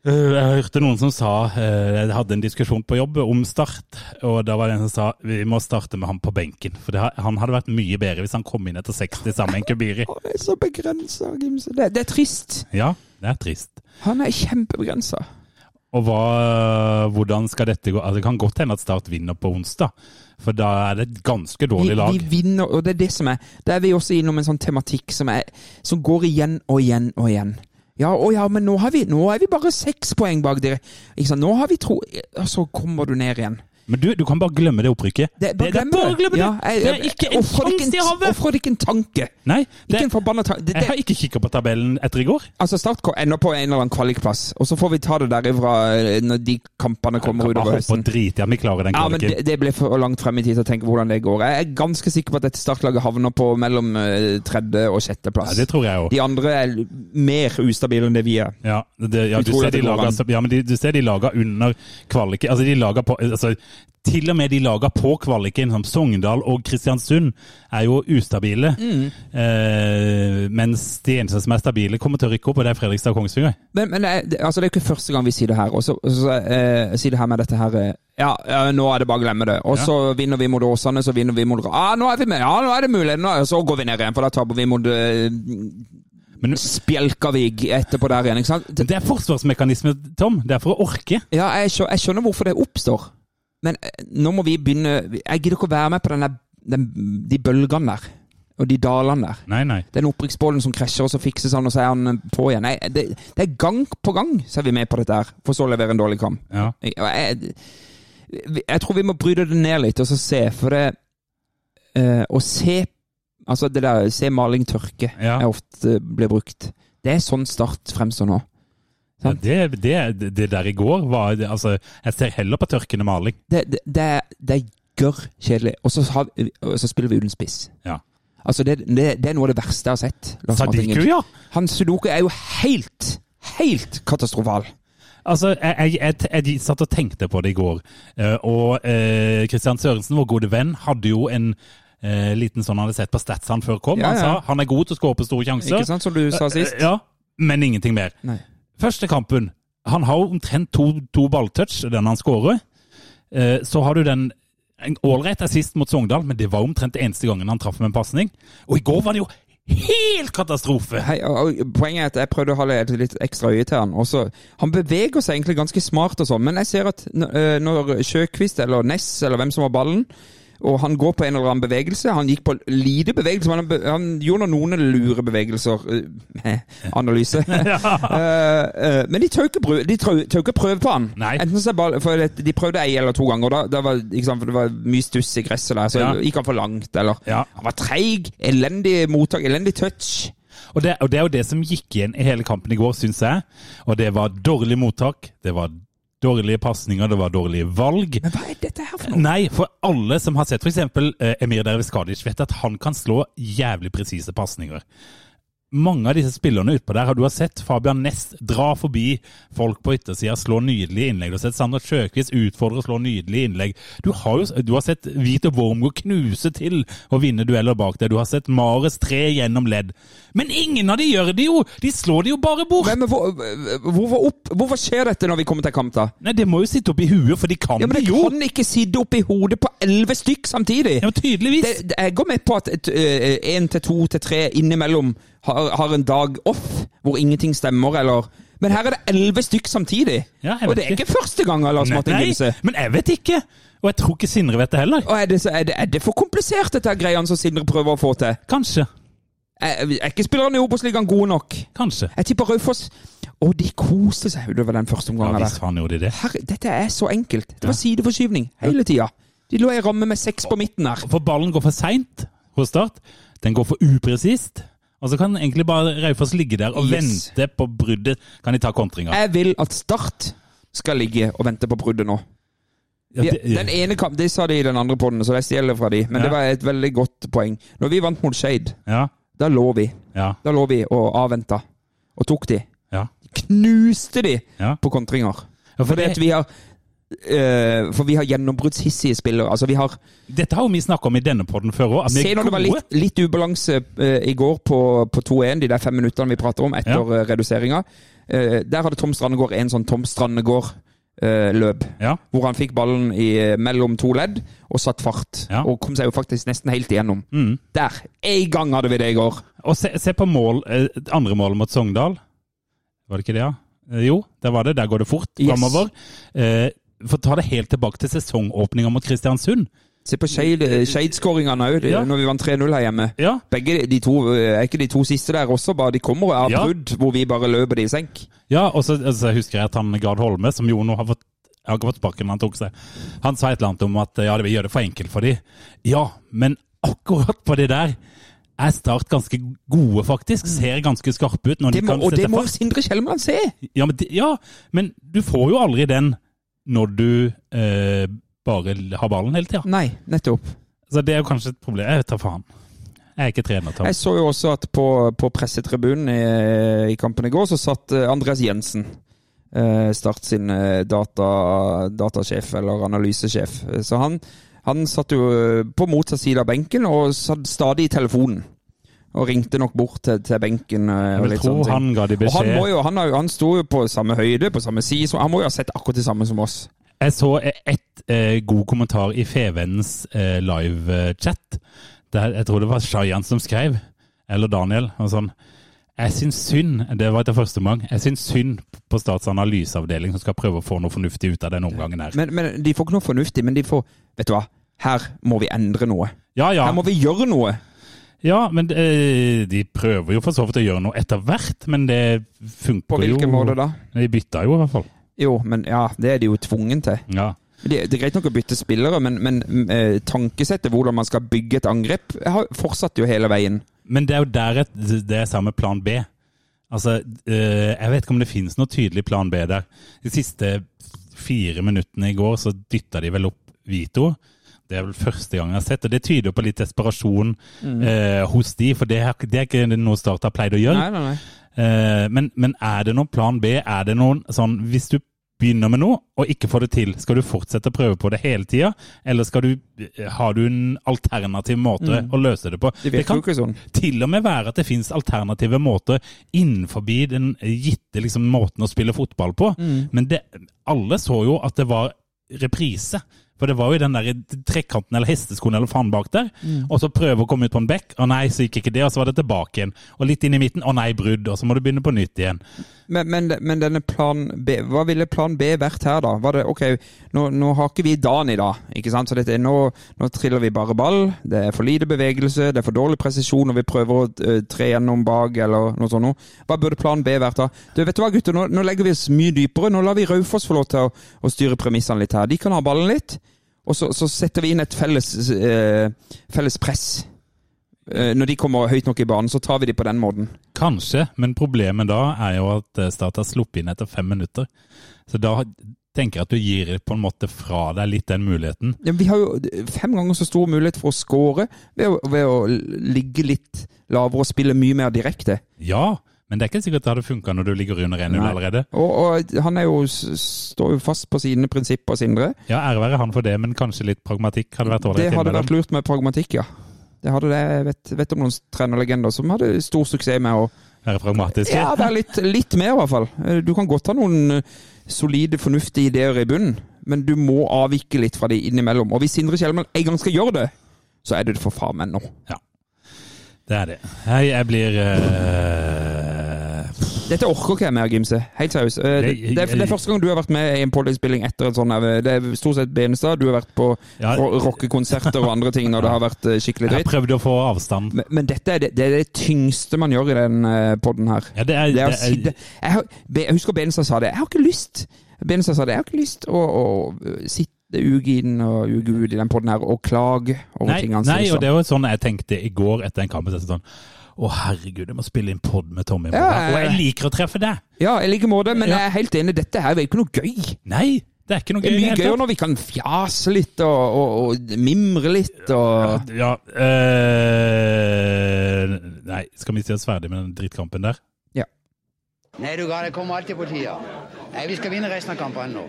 Eh, Jeg hørte noen som sa eh, Jeg hadde en diskusjon på jobb om Start. Og da var det en som sa vi må starte med ham på benken. For det, har- han hadde vært mye bedre hvis han kom inn etter 60 sammen med en Kubiri.
Å, det er så begrensa, Gimse. Det, det er trist.
Ja, det er trist.
Han er kjempebegrensa.
Og hva, hvordan skal dette gå? Altså, det kan godt hende at Start vinner på onsdag. For da er det et ganske dårlig
Vi,
lag.
vi vinner, og det er det som er Da er vi også innom en sånn tematikk som, er, som går igjen og igjen og igjen. Ja, å ja, men nå, har vi, nå er vi bare seks poeng bak dere. Ikke sant? Nå har vi tro... Og så kommer du ned igjen.
Men du, du kan bare glemme det opprykket.
Det, bare glem det. Ja, jeg-
Det er ikke en
ofrer det ikke
sjanse i
en-
havet!
Ofrer det ikke en tanke.
Nei,
Ikke
det,
en forbanna tanke. Det,
jeg
det,
har ikke kikket på tabellen etter i går.
altså Start ko- ender på en eller annen kvalikplass, og så får vi ta det derifra eh, når de kampene
Kan
kommer
bare
utover
håpe og
høsten.
drite i at vi klarer den
Ja, men
kvaliken.
det, det ble for langt frem i tid til å tenke hvordan det går. Jeg er ganske sikker på at dette startlaget havner på mellom eh, tredje og sjette
Ja,
plass.
det tror jeg òg.
De andre er l- mer ustabile enn det vi er.
Ja, det- ja,
Vi
du
tror
ser
at det
de
går
laga
an.
som- ja, men de- du ser de laga under kvaliken Altså, de laga på altså, Til og med de laga på kvaliken, som Sogndal og Kristiansund, er jo ustabile.
Mm.
Eh, mens de eneste som er stabile, kommer til å rykke opp, og det er Fredrikstad og Kongsvinger.
Men, men det, er- det- altså, det er jo ikke første gang vi sier det her. Og så og så, eh, sier det her med dette her eh, ja, ja, nå er det bare å glemme det. Og så vinner vi mot Åsane, så vinner vi mot ah, nå er vi med, Ja, nå er det mulig! Nå, og så går vi ned igjen, for da taper vi mot eh,
Men
Spjelkavik etterpå der igjen. ikke sant? Det,
det er forsvarsmekanisme, Tom. Det er for å orke.
ja, jeg, skjø- jeg skjønner hvorfor det oppstår, men eh, nå må vi begynne Jeg gidder ikke å være med på den der, den, de bølgene der, og de dalene der.
Nei, nei.
den opprykksbollen som krasjer, og så fikses han, og så er han eh, på igjen. Nei, det, det er gang på gang så er vi med på dette her, for så å levere en dårlig kamp.
Ja.
Jeg, jeg, jeg tror vi må bryte det ned litt, og så se, for det eh, Å se Altså, det der se maling tørke
Ja.
er ofte eh, blir brukt. Det er sånn Start fremstår nå.
Ja, det, det, det der i går var Altså, jeg ser heller på tørkende maling.
Det, det, det, er- det er gørr kjedelig. Og så, har, vi- og så spiller vi uten spiss.
Ja.
Altså, det, det, det er noe av det verste jeg har sett. Lars Martin
Sadiku,
Gimse.
ja!
Han Sudoku er jo helt, helt katastrofal.
Altså, jeg, jeg, jeg, jeg satt og tenkte på det i går, eh, og eh, Kristian Sørensen, vår gode venn, hadde jo en eh, liten sånn han hadde sett på Stats han før kom.
Ja,
Han sa
ja.
han er god til å skåre på store sjanser.
Ikke sant, som du sa sist?
Eh, Ja, men ingenting mer.
Nei.
Første kampen, han har jo omtrent to, to balltouch, den han skårer. Eh, Så har du den en ålreit assist mot Sogndal, men det var omtrent eneste gangen han traff med en pasning. Og i går var det jo helt katastrofe!
Hei, og, og, poenget er at jeg prøvde å holde et litt ekstra øye til han. Og så, han beveger seg egentlig ganske smart og sånn, men jeg ser at n- eh, når Sjøkvist eller Ness eller hvem som har ballen, og han går på en eller annen bevegelse Han gikk på lite bevegelse, men han, be, han gjorde noen lure bevegelser. *laughs* eh,
*laughs*
analyse. *laughs* Eh, eh, men de tør ikke bru- de tør- tør ikke prøve på han.
Nei.
Enten så er ball, for det- De prøvde ei eller to ganger, og da, da var, ikke sant, for det var mye stuss i gresset der. Så
Ja.
gikk han for langt, eller
Ja.
Han var treig. Elendig mottak, elendig touch.
Og det, og det er jo det som gikk igjen i hele kampen i går, syns jeg. Og det var dårlig mottak, det var dårlige pasninger, det var dårlige valg.
Men hva er dette her for noe?
Nei, for alle som har sett f.eks. Eh, Emir Derviskadic, vet at han kan slå jævlig presise pasninger. Mange av disse spillerne utpå der har du har sett Fabian Næss dra forbi folk på yttersida, slå nydelige innlegg. Du har sett Sander Sjøkvist utfordre og slå nydelige innlegg. Du har, jo, du har sett Vito Wormgård knuse til og vinne dueller bak deg. Du har sett Mares tre gjennom ledd. Men ingen av de gjør det jo! De slår det jo bare bort!
Men, men hvor, hvorfor, opp, hvorfor skjer dette når vi kommer til kamp, da?
Nei, det må jo sitte oppi huet, for de kan
Ja, men
det
Det
jo!
kan ikke sitte oppi hodet på elleve stykk samtidig!
Ja, men tydeligvis!
Det, det, jeg går med på at én til to til tre innimellom har, har en dag off hvor ingenting stemmer, eller Men her er det elleve stykk samtidig!
Ja, jeg
og
vet
det er
ikke.
ikke første gang, Lars Martin Gimse.
men jeg vet ikke. Og jeg tror ikke Sindre vet det heller.
Og er det, så- er, det, er det for komplisert, dette her greiene som Sindre prøver å få til?
Kanskje.
Er, er ikke spillerne i Obos-ligaen gode nok?
Kanskje.
Jeg tipper Raufoss Å, de koste seg utover den første
Ja,
omgangen. der.
hvis faen gjorde de det.
Herre, dette er så enkelt. Det var sideforskyvning hele tida. De lå i en ramme med seks på midten her.
For ballen går for seint hos Start. Den går for upresist. Og så kan egentlig bare Raufoss ligge der og
Yes. Eh,
vente på bruddet. Kan de ta kontringa?
Jeg vil at Start skal ligge og vente på bruddet nå.
Ja,
De,
det-
den ene kamp, Det sa de i den andre poden, så jeg stjeler fra de. Men
Ja.
det var et veldig godt poeng. Når vi vant mot Skeid,
ja,
da lå vi
ja,
Da lå vi og avventa. Og tok de.
ja.
Knuste de
Ja.
på kontringer.
ja for
Fordi at
det,
vi har eh, For vi har gjennombruddshissige spillere. Altså, vi har
dette har jo vi snakka om i denne podden før òg.
Se når det var litt, litt ubalanse eh, i går på, på 2-1, de der fem minuttene vi prater om etter ja. reduseringa. Eh, der hadde Tom Strandegård en sånn Tom Strandegård-løp.
Ja.
Hvor han fikk ballen i, eh, mellom to ledd og satt fart.
Ja.
Og kom seg jo faktisk nesten helt igjennom.
mm.
Der! En gang hadde vi det i går.
Og se, se på mål, eh, andre målet mot Sogndal. Var det ikke det, ja? Eh, Jo, der var det. Der går det fort
Yes.
framover. Eh, for ta det helt tilbake til sesongåpninga mot Kristiansund.
Se på Skeid-skåringene òg,
Ja.
når vi vant 3-0 her hjemme.
Ja,
Begge de to, eh, Er ikke de to siste der også? bare De kommer og har
Ja.
brudd hvor vi bare løper de i senk.
Ja, og så og så husker jeg at han Gard Holme, som jo nå har fått jeg har ikke fått sparken, men han tok seg. Han sa et eller annet om at ja, det vil gjøre det for enkelt for de. Ja, men akkurat på det der er Start ganske gode, faktisk. Ser ganske skarpe ut når
Mm. Det
de
må,
kan
og det
sette
må
fart.
Sindre Kjelmeland se!
Ja men, de- ja, men du får jo aldri den når du eh, bare har ballen hele tida.
Nei, nettopp.
Så det er jo kanskje et problem. Jeg vet da faen. Jeg er ikke trener, Tom.
Jeg så jo også at på, på pressetribunen i, i kampen i går, så satt eh, Andreas Jensen. eh, Start sin eh, data, datasjef, eller analysesjef. Eh, Så han, han satt jo eh, på motsatt side av benken og satt stadig i telefonen. Og ringte nok bort til, til benken. eh,
Jeg
og
vil
litt
tro
sånne ting.
han ga de
Og han,
beskjed.
må jo, han, har jo- han sto jo på samme høyde, på samme side, så han må jo ha sett akkurat det samme som oss.
Jeg så et eh, god kommentar i Fevennens eh, live-chat. Der, jeg tror det var Shayan som skrev, eller Daniel, og sånn. Jeg syns synd, det var etter første omgang, jeg syns synd på Stats analyseavdeling som skal prøve å få noe fornuftig ut av den omgangen her.
Men, men de får ikke noe fornuftig, men de får Vet du hva, her må vi endre noe.
Ja ja,
Her må vi gjøre noe!
ja men eh, de prøver jo for så vidt å gjøre noe etter hvert, men det funker
På hvilken
jo
måte da?
De bytta jo i hvert fall.
Jo, men ja, det er de jo tvungen til.
Ja.
Det, det er greit nok å bytte spillere, men, men mm, eh, tankesettet hvordan man skal bygge et angrep, har fortsatt jo hele veien.
Men det er jo der et, det er samme plan B. Altså, eh, jeg vet ikke om det finnes noe tydelig plan B der. De siste fire minuttene i går så dytta de vel opp Vito. Det er vel første gang jeg har sett, og det tyder jo på litt desperasjon
Mm.
eh, hos de, for det er, det er ikke noe Start har pleid å gjøre.
nei, nei.
Eh, men, men er det noen plan B? Er det noen sånn Hvis du begynner med noe og ikke får det til, skal du fortsette å prøve på det hele tida? Eller skal du, eh, har du en alternativ måte å løse det på?
Det virker
kan
Mm. jo ikke sånn.
til og med være at det finnes alternative måter innenfor den gitte liksom, måten å spille fotball på. Men det, alle så jo at det var reprise. For det var jo den der trekanten eller hesteskoen eller faen bak der. Og så prøve å komme ut på en bekk. Å nei, så gikk ikke det. Og så var det tilbake igjen. Og litt inn i midten. Å nei, brudd. Og så må du begynne på nytt igjen.
Men, men, men denne plan B, hva ville plan B vært her, da? Var det, ok, Nå, nå har ikke vi dagen i dag, ikke sant? så dette er, nå, nå triller vi bare ball. Det er for lite bevegelse, det er for dårlig presisjon, og vi prøver å eh, tre gjennom bak eller noe sånt. noe. Hva burde plan B vært da? Du, vet du hva, gutter, nå, nå legger vi oss mye dypere. Nå lar vi Raufoss få lov til å, å styre premissene litt her. De kan ha ballen litt, og så, så setter vi inn et felles, eh, felles press. Eh, når de kommer høyt nok i banen, så tar vi de på den måten.
Kanskje, men problemet da er jo at eh, Start har sluppet inn etter fem minutter. Så da tenker jeg at du gir på en måte fra deg litt den muligheten.
Ja, vi har jo fem ganger så stor mulighet for å score ved å, ved å ligge litt lavere og spille mye mer direkte.
Ja, men det er ikke sikkert det hadde funka når du ligger under 1-0
Nei.
allerede.
Og, og han er jo, s- står jo fast på sine prinsipper, Sindre.
Ja, ære være han for det, men kanskje litt pragmatikk hadde vært
Det
ålreit
hadde vært
innimellom.
lurt med pragmatikk, ja. Det hadde det. Jeg vet, vet om noen trenerlegender som hadde stor suksess med å
Være pragmatiske.
ja, være litt, litt mer, i hvert fall. Eh, Du kan godt ha noen eh, solide, fornuftige ideer i bunnen, men du må avvike litt fra de innimellom. Og hvis Sindre Kjellmann en gang skal gjøre det, så er det for faen meg nå.
Det er det. Hei, jeg blir eh,
Dette orker ikke jeg mer, Gimse. Helt seriøst. Eh, Det,
Nei,
det, er- det er første gang du har vært med i en podiumspilling etter en sånn her, Det er stort sett Benestad. Du har vært på
Ja.
ro- rockekonserter og andre ting når det har vært eh, skikkelig
Jeg har
dritt.
prøvd å få avstand.
Men, men dette er det, det er det tyngste man gjør i den eh, podden her.
Ja, det er,
Det er å
det er-
sitte Jeg, har- Be- jeg husker Benestad sa det. Jeg har ikke lyst Benestad sa det. Jeg har ikke lyst å, å eh, sitte uke inn og uke ut i den podden her og klage over
Nei,
ting han
nei,
sier.
og det var sånn jeg tenkte i går etter en kamp. Jeg tenkte sånn, å, herregud, jeg må spille inn pod med Tommy. i morgen.
Ja, ja, ja.
Og jeg liker å treffe deg!
Ja, i like måte, men
Ja.
jeg er helt enig. Dette her er jo ikke noe gøy.
Nei, det er ikke noe
Det
gøy. i det
er mye
hele tatt.
gøyere når vi kan fjase litt og, og, og mimre litt og
Ja eh, Nei, skal vi si oss ferdig med den drittkampen der?
Ja.
Nei, du gal, jeg kommer alltid på tida. Nei, vi skal vinne resten av kampene nå.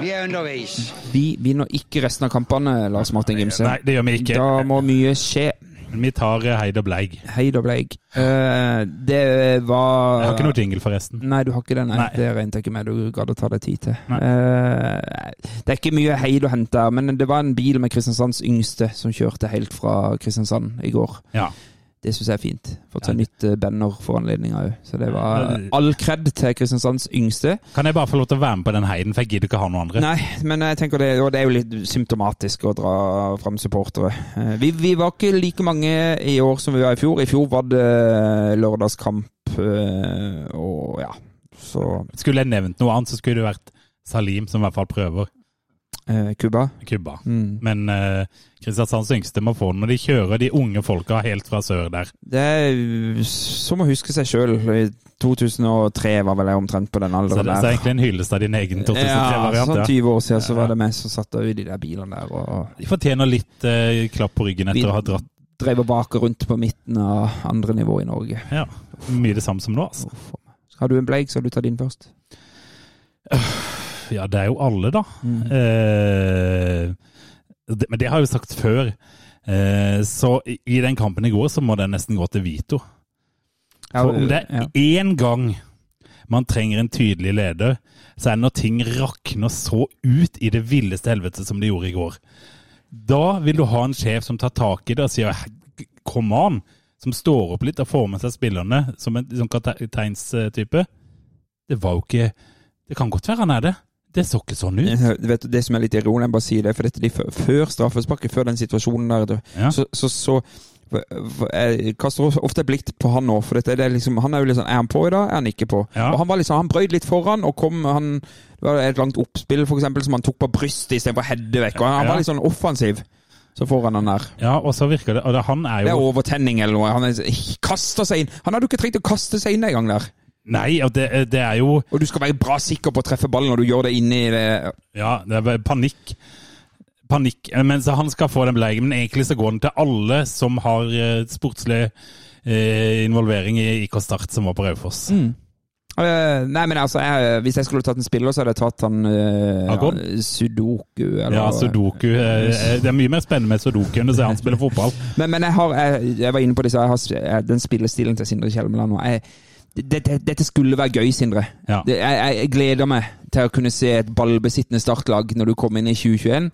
Vi er underveis.
Vi vinner ikke resten av kampene, Lars Martin Gimse.
Nei, det gjør vi ikke.
Da må mye skje.
Vi tar eh, Heid og Bleig.
Hei da, Bleik. Eh, det var
Jeg har ikke
Eh,
noe jingle, forresten.
Nei, du har ikke det. Nei.
Nei.
Det regnet jeg ikke med. Du gadd å ta deg tid til.
Nei.
Eh, det er ikke mye heid å hente her, men det var en bil med Kristiansands yngste som kjørte helt fra Kristiansand i går.
Ja.
Det syns jeg er fint. Fått
Ja,
seg
det-
nytt eh, banner for anledninga òg. Så det var
Ja, det-
all kred til Kristiansands yngste.
Kan jeg bare få lov til å være med på den heiden, for jeg gidder ikke ha noen andre?
*laughs* Nei, men jeg tenker det, og det er jo litt symptomatisk å dra fram supportere. Eh, Vi, vi var ikke like mange i år som vi var i fjor. I fjor var det eh, lørdagskamp eh, og ja. Så
Skulle jeg nevnt noe annet, så skulle det vært Salim, som i hvert fall prøver
eh, Cuba.
Kubba.
Mm.
Men eh, Kristiansands yngste må få den når de kjører de unge folka helt fra sør der.
Det er jo som å huske seg sjøl. 2003 var vel jeg omtrent på den
Så det, så
alderen
det er egentlig en hyllest av din egen
Ja, sånn
2003-variant. Ja,
20 år siden så
Ja.
var det meg som satt i de der bilene der og
de fortjener litt eh, klapp på ryggen
Vi-
etter å ha dratt
drev og baker rundt på midten av andre nivå i Norge.
ja, mye det samme som nå. Altså.
Uff, for meg. Har du en bleik, så har du tatt din først.
Ja, det er jo alle, da.
Mm.
Eh, det, men det har jeg jo sagt før. Eh, så i, i den kampen i går så må den nesten gå til Vito.
Ja,
For om det
ja.
er én gang man trenger en tydelig leder, så er det når ting rakner så ut i det villeste helvete som det gjorde i går. Da vil du ha en sjef som tar tak i det og sier «Hæ, come on! Som står opp litt og får med seg spillerne som en som kapteinstype. Det var jo ikke Det kan godt være han er det. Det så ikke sånn ut.
Eh, Vet du, Det som er litt ironisk, jeg bare sier det, for dette, de, før- før straffesparket, før den situasjonen der, du,
Ja.
så, så, så for- for- jeg kaster også ofte et blikk på han nå, for dette, det er liksom, han er jo litt sånn Er han på i dag? Er han ikke på?
Ja.
Og Han var liksom, han brøyd litt foran, og kom han, det var et langt oppspill for eksempel, som han tok på brystet istedenfor heade vekk. Og han,
Ja.
var litt sånn offensiv. Så foran han der.
Ja, og så virker det Og det, han er
Det er
jo
overtenning eller noe. Han er, kaster seg inn. Han hadde jo ikke trengt å kaste seg inn en gang der.
Nei, og det, det er jo
Og du skal være bra sikker på å treffe ballen når du gjør det inni det
Ja, det er bare panikk. Panikk. Eh, Men så han skal få den beleigen, men egentlig så går den til alle som har eh, sportslig eh, involvering i IK Start, som var på Raufoss.
Mm. Ja, Eh, nei, men altså, jeg, hvis jeg skulle tatt en spiller, så hadde jeg tatt han eh,
Hakon?
han, Sudoku. Eller,
Ja, Sudoku. eh, eh, Det er mye mer spennende med Sudoku enn å se han spille fotball.
Men, men jeg, har, jeg, jeg var inne på det, så jeg har s- jeg, den spillestilen til Sindre Kjelmeland nå. Jeg, det, det, dette skulle være gøy, Sindre.
Ja.
Det, jeg, jeg, jeg gleder meg til å kunne se et ballbesittende startlag når du kommer inn i 2021.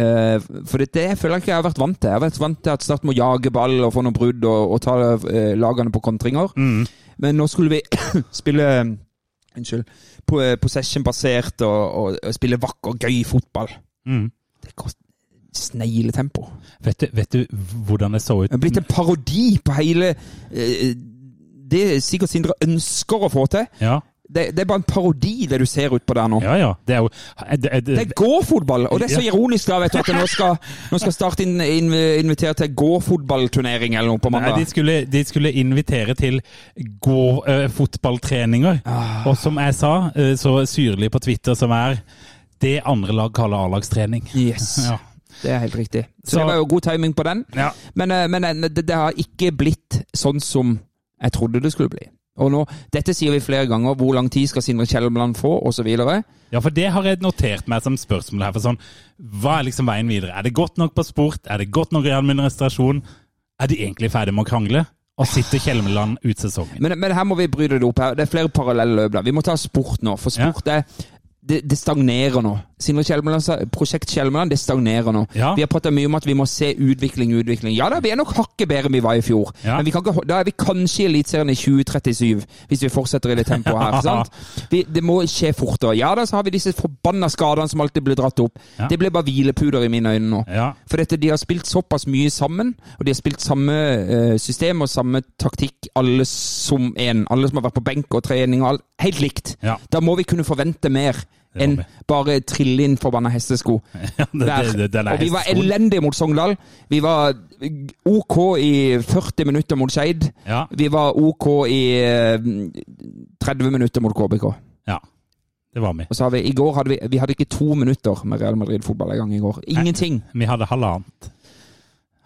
Eh, for det, det føler jeg ikke jeg har vært vant til. Jeg har vært vant til at Start må jage ball og få noen brudd og, og ta eh, lagene på kontringer.
Mm.
Men nå skulle vi *coughs* spille Unnskyld. På, eh, possession-basert og, og, og spille vakker, gøy fotball.
Mm.
Det går snegletempo.
*laughs* Vet, du, vet du hvordan det så ut?
Det er blitt en parodi på hele eh, Det sikkert Sindre ønsker å få til.
Ja,
Det, det er bare en parodi, det du ser ut på der nå.
ja. ja. Det er jo eh, det, eh,
Det
det,
er gåfotball! Og det er så ironisk da, vet du, at nå skal, nå skal Start inn, inn, invitere til gåfotballturnering eller noe på
Nei, de
mandag.
skulle, de skulle invitere til gå, eh, fotballtreninger.
Ah.
Og som jeg sa, eh, så syrlig på Twitter som er Det andre lag kaller A-lagstrening.
Yes,
Ja.
det er helt riktig. Så,
Så-
det var jo god timing på den.
Ja.
Men, eh, men eh, det, det har ikke blitt sånn som jeg trodde det skulle bli. Og nå, Dette sier vi flere ganger. Hvor lang tid skal Sindre Kjelmeland få, osv.?
ja, for det har jeg notert meg som spørsmål her. For sånn, hva er liksom veien videre? Er det godt nok på sport? Er det godt nok i administrasjon? Er de egentlig ferdig med å krangle? Og sitter Kjelmeland ut sesongen?
Men, men her må vi bryte det opp. her. Det er flere parallelle løp. der. Vi må ta sport nå, for sport er det, det stagnerer nå. Sindre Kjelmeland sa Prosjekt Kjelmeland, det stagnerer nå.
Ja.
Vi har prata mye om at vi må se utvikling, utvikling. Ja da, vi er nok hakket bedre enn vi var i fjor.
Ja.
Men vi kan ikke, ho- da er vi kanskje i Eliteserien i 2037, hvis vi fortsetter i det tempoet her.
*laughs* Ja.
sant? Vi, det må skje fortere. Ja da, så har vi disse forbanna skadene som alltid blir dratt opp.
Ja.
Det blir bare hvilepuder i mine øyne nå.
Ja.
For dette, de har spilt såpass mye sammen, og de har spilt samme eh, system og samme taktikk, alle som en. Alle som har vært på benk og trening og alt. Helt likt.
Ja.
Da må vi kunne forvente mer
Det må
enn
vi.
bare trille inn forbanna hestesko.
Ja, *laughs* det, det, det, den er
og vi var
hesteskoen.
elendige mot Sogndal. Vi var OK i 40 minutter mot Skeid.
Ja.
Vi var OK i eh, 30 minutter mot KBK.
ja. Det var vi.
Og så har vi, i går hadde vi, vi hadde ikke to minutter med Real Madrid-fotball en gang i går. Ingenting.
Vi hadde halvannet.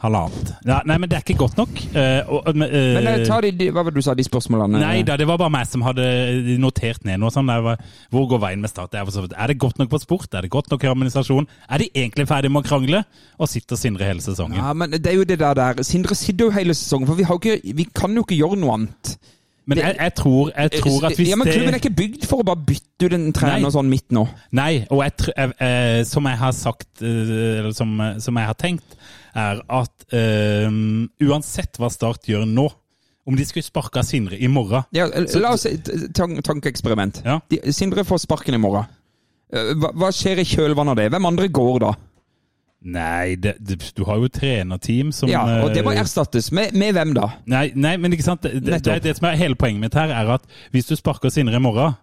Halvannet. Ja, nei, men det er ikke godt nok. Eh, og, eh,
Men eh, ta de, de, hva var det du sa, de spørsmålene?
Nei da, det var bare meg som hadde eh, notert ned noe sånt. Det var, Hvor går veien med Start? Det Er, for så vidt- er det godt nok på sport? Er det godt nok i administrasjon? Er de egentlig ferdig med å krangle? Og sitter Sindre hele sesongen.
Ja, men det er jo det der der. Sindre sitter jo hele sesongen, for vi, har jo ikke, vi kan jo ikke gjøre noe annet.
men jeg, jeg, tror, jeg tror at hvis
Eh, ja, men Klubben er
det
ikke bygd for å bare bytte ut en trener
Nei.
sånn midt nå.
Nei, og jeg, tr- jeg, eh, som jeg har sagt, eh, eller som, som jeg har tenkt, er at eh, uansett hva Start gjør nå, om de skulle sparka Sindre i morgen
Ja, eh, la oss et tan- tankeeksperiment.
Ja.
De- Sindre får sparken i morgen. Eh, Hva, hva skjer i kjølvannet av det? Hvem andre går da?
Nei, det, det, du har jo trenerteam som
Ja, og Det må
eh,
erstattes. Med, med hvem da?
Nei, nei, men ikke sant? Det, det, det,
Nettopp.
det som er hele poenget mitt her, er at hvis du sparker Sindre i morgen,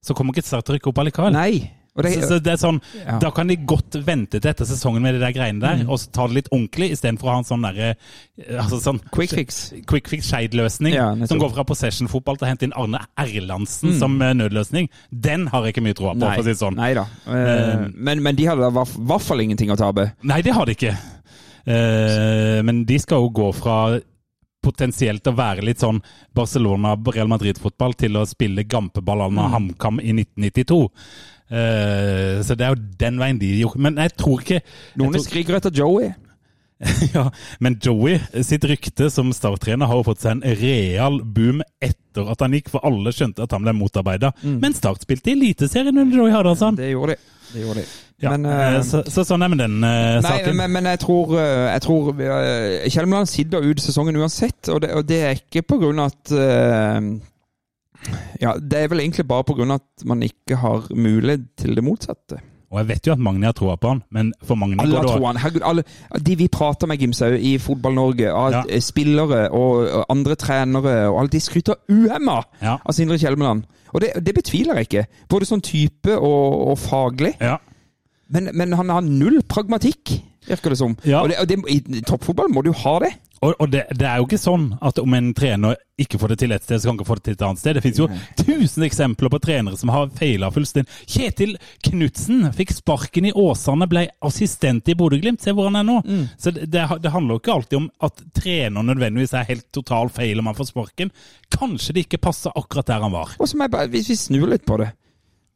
så kommer ikke Start til å rykke opp allikevel.
Nei. Og det,
Så, så det er sånn,
Ja. Mm.
Da kan de godt vente til etter sesongen med de der greiene der, og så ta det litt ordentlig, istedenfor å ha en sånn derre eh, altså sånn,
Quick fix.
Quick fix Skeid-løsning,
Ja, nettopp. Mm.
som går fra possession-fotball til å hente inn Arne Erlandsen som eh, nødløsning. Den har jeg ikke mye troa på, for å si det sånn. Nei,
Nei da. Eh, men, men de hadde da i hvert- hvert fall ingenting å tape.
det har de ikke. Eh, men de skal jo gå fra potensielt å være litt sånn Barcelona-Real Madrid-fotball til å spille gampeball à la
Mm.
HamKam i 1992. Eh, så det er jo den veien de gjorde. Men jeg tror ikke
Noen
jeg tror,
skriker etter Joey.
*laughs* ja, Men Joey sitt rykte som Start-trener har jo fått seg en real boom etter at han gikk, for alle skjønte at han ble motarbeida. Men Start spilte i Eliteserien under Joey Hardasson.
Mm. Det gjorde de. Det gjorde de.
Ja,
Men, eh,
eh, så, så sånn er med den eh,
Nei,
saken.
men, men jeg tror, eh, jeg tror eh, Kjelmeland sitter ut sesongen uansett, og det, og det er ikke på grunn av at eh, Ja, det er vel egentlig bare på grunn av at man ikke har mulighet til det motsatte.
Og jeg vet jo at Magni har troa på han, men for Magni
Alle
går
har
det også-
troen. Herregud, alle, de vi prater med, Gimshaug, i Fotball-Norge, av
Ja.
eh, spillere og, og andre trenere og alt, de skryter uhemma
Ja.
av Sindre Kjelmeland. Og det, det betviler jeg ikke. Både sånn type og, og faglig.
Ja.
Men, men han har null pragmatikk. virker det som.
Ja.
Og, det, og det, i toppfotball må du ha det.
Og, og det, det er jo ikke sånn at om en trener ikke får det til et sted, så kan han ikke få det til et annet sted. Det finnes jo
Mhm.
tusen eksempler på trenere som har feila fullstendig. Kjetil Knutsen fikk sparken i Åsane, ble assistent i Bodø-Glimt. Se hvor han er nå.
Mm.
Så det, det, det handler jo ikke alltid om at trener nødvendigvis er helt total feil om han får sparken. Kanskje det ikke passer akkurat der han var.
Og så må jeg bare, hvis vi snur litt på det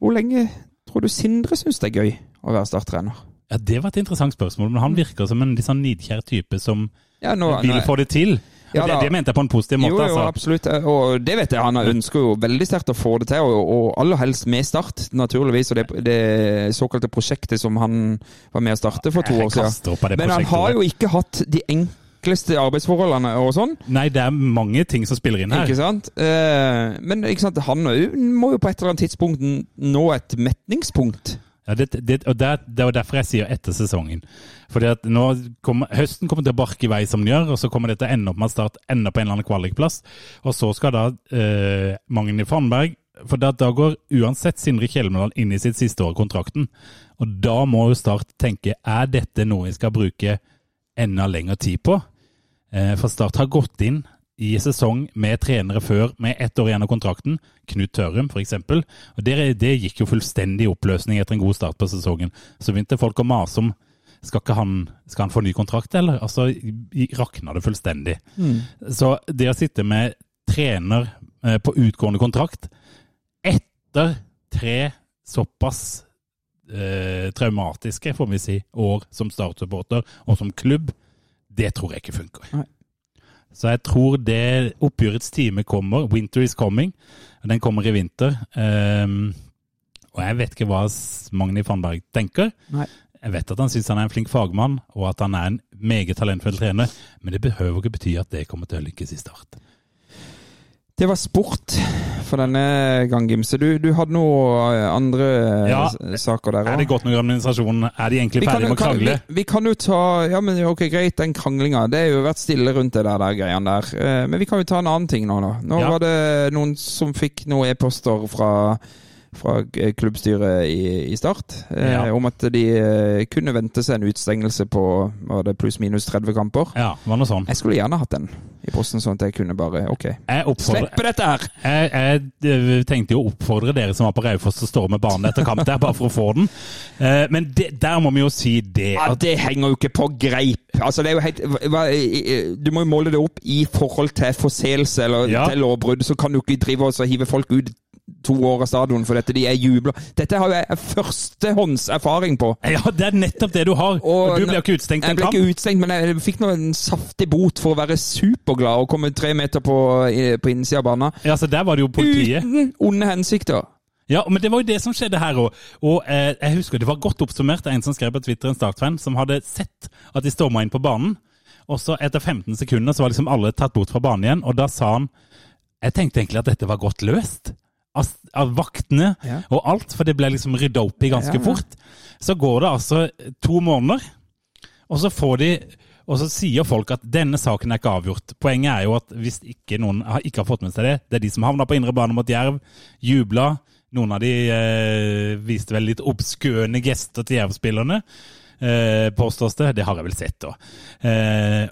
Hvor lenge tror du Sindre syns det er gøy å være starttrener?
Ja, Det var et interessant spørsmål, men han virker som en litt sånn nidkjær type som
Ja, nå,
vil
nei.
få det til. Og
Ja,
det,
da.
det mente jeg på en positiv måte,
jo, jo,
altså.
absolutt. Og det vet jeg. Han ønsker jo veldig sterkt å få det til, og, og aller helst med Start, naturligvis. Og det, det såkalte prosjektet som han var med å starte for to
Jeg
år siden.
kaster opp av det
Men han
prosjektet
har
der.
jo ikke hatt de enkleste arbeidsforholdene og sånn.
Nei, det er mange ting som spiller inn her.
Ikke sant? Eh, men ikke sant? han er jo- må jo på et eller annet tidspunkt n- nå et metningspunkt.
Ja, det, det, og det, det er jo derfor jeg sier etter sesongen. Fordi at nå kommer, Høsten kommer til å barke i vei som den gjør, og så kommer det til å ende opp med at Start ender på en eller annen kvalikplass. Og så skal da eh, Magni Fannberg For da, da går uansett Sindre Kjelmeland inn i sitt siste år av kontrakten. Og da må jo Start tenke er dette noe vi skal bruke enda lengre tid på? Eh, for Start har gått inn i sesong med trenere før med ett år igjen av kontrakten, Knut Tørum f.eks. Og det, det gikk jo fullstendig i oppløsning etter en god start på sesongen. Så begynte folk å mase om skal, ikke han, skal han få ny kontrakt, eller? Altså i- rakna det fullstendig. Så det å sitte med trener eh, på utgående kontrakt etter tre såpass eh, traumatiske, får vi si, år som Start-supporter og som klubb, det tror jeg ikke funker.
Nei.
Så jeg tror det oppgjørets time kommer. Winter is coming. og Den kommer i vinter. Ehm, og jeg vet ikke hva s- Magni Fannberg tenker.
Nei.
Jeg vet at han syns han er en flink fagmann, og at han er en meget talentfull trener, men det behøver ikke bety at det kommer til å lykkes i start.
Det var sport for denne gang, Gimse. Du, du hadde noe eh, andre eh,
Ja.
s- saker der
Er
også.
det godt nok organisasjon? Er de egentlig ferdige med å
jo-
krangle?
vi, vi kan jo ta Ja, men ok, greit, den kranglinga. Det har jo vært stille rundt det der, der greiene der. Eh, Men vi kan jo ta en annen ting nå, da. Nå
Ja.
var det noen som fikk noen e-poster fra fra eh, klubbstyret i, i Start eh,
Ja.
om at de eh, kunne vente seg en utestengelse på var det pluss-minus 30 kamper.
Ja, det var noe sånn.
Jeg skulle gjerne hatt den i posten, sånn at jeg kunne bare OK,
Jeg oppfordrer,
slippe dette her!
Jeg, jeg eh, tenkte jo å oppfordre dere som var på Raufoss til å storme banen etter kamp der, bare for å få den. Eh, Men det, der må vi jo si det.
Ja,
At,
det henger jo ikke på greip. Altså, det er jo helt, hva, du må jo måle det opp i forhold til forseelse eller
Ja.
til lovbrudd. Så kan du ikke drive og så hive folk ut to år av stadion for dette. De er jubla. Dette har jo jeg førstehånds erfaring på.
ja, det er nettopp det du har. Og, du ble jo ikke utstengt i
Jeg
en
ble
kamp.
ikke utstengt, men jeg fikk nå en saftig bot for å være superglad og komme tre meter på, på innsida av banen.
Ja, så der var det jo politiet.
Uten onde hensikter.
Ja, men det var jo det som skjedde her òg. Og eh, jeg husker det var godt oppsummert av en som skrev på Twitter, en Start-fan, som hadde sett at de storma inn på banen. Og så etter 15 sekunder så var liksom alle tatt bort fra banen igjen, og da sa han Jeg tenkte egentlig at dette var godt løst. Av, av vaktene
Ja.
og alt, for det ble liksom rydda opp i ganske
Ja, ja.
fort. Så går det altså to måneder, og så får de og så sier folk at denne saken er ikke avgjort. Poenget er jo at hvis ikke noen har, ikke har fått med seg det, det er de som havna på indre bane mot Jerv, jubla. Noen av de eh, viste vel litt obskøne gester til Jerv-spillerne, eh, påstås det. Det har jeg vel sett, da. Eh,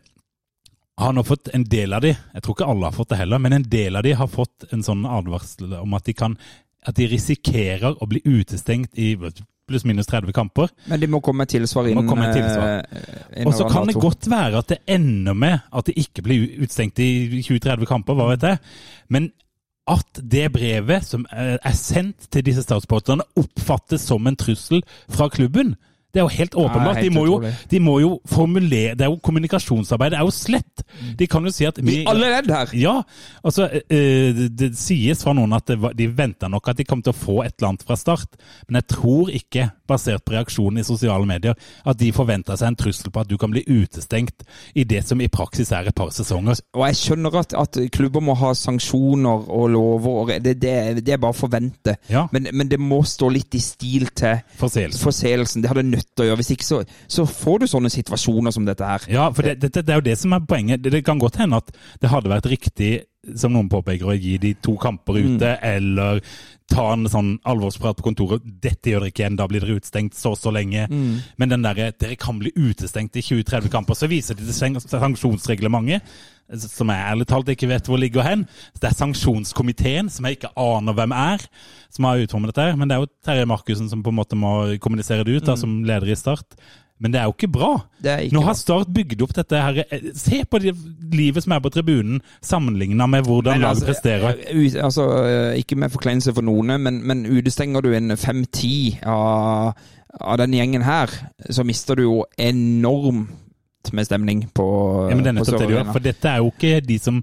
har nå fått en del av de, jeg tror ikke alle har fått det heller, men en del av de har fått en sånn advarsel om at de kan at de risikerer å bli utestengt i pluss-minus 30 kamper.
Men de må komme med tilsvar
Må
innen
komme med tilsvar.
eh, innen
Og så kan
hverandre
det
to.
godt være at det ender med at det ikke blir utstengt i 20-30 kamper, hva vet jeg. Men at det brevet som eh, er sendt til disse statsborgerne oppfattes som en trussel fra klubben, det er jo helt åpenbart.
helt
de, må jo,
utrolig.
de må jo formulere Det er jo kommunikasjonsarbeid, det er jo slett. De kan jo si at
I Mm. alle ledd her!
ja, altså eh, det, det sies fra noen at det, var- de venta nok at de kom til å få et eller annet fra start, men jeg tror ikke, basert på reaksjonen i sosiale medier, at de forventa seg en trussel på at du kan bli utestengt i det som i praksis er et par sesonger.
Og jeg skjønner at, at klubber må ha sanksjoner og lover, og re- det, det, det er bare å forvente.
Ja.
Men, men det må stå litt i stil til
Forseelsen.
forseelsen. Det har det nødt til å gjøre. Hvis ikke så, så får du sånne situasjoner som dette her.
Ja, for det, dette- det er jo det som er poenget. Det, det kan godt hende at det hadde vært riktig som noen påpeker, å gi de to kamper ute, eller ta en sånn alvorsprat på kontoret 'Dette gjør dere ikke igjen, da blir dere utestengt så og så lenge'. Men den derre 'Dere kan bli utestengt i 20-30 kamper', så viser de til sank- sanksjonsreglementet, som jeg ærlig talt ikke vet hvor ligger hen. Det er sanksjonskomiteen, som jeg ikke aner hvem er, som har utformet dette her. Men det er jo Terje Markussen som på en måte må kommunisere det ut, da, som leder i Start. Men det er jo ikke bra.
Mm. Det er ikke
Nå
bra.
har Start bygd opp dette her eh, Se på det livet som er på tribunen, sammenligna med hvordan
Men altså,
laget presterer.
u- altså, eh, ikke med forkleinelse for noen, men, men utestenger du en 5-10 av, av den gjengen her, så mister du jo enormt med stemning på
Ja, men det er nettopp det de gjør.
Sør-Arena.
For dette er jo ikke de som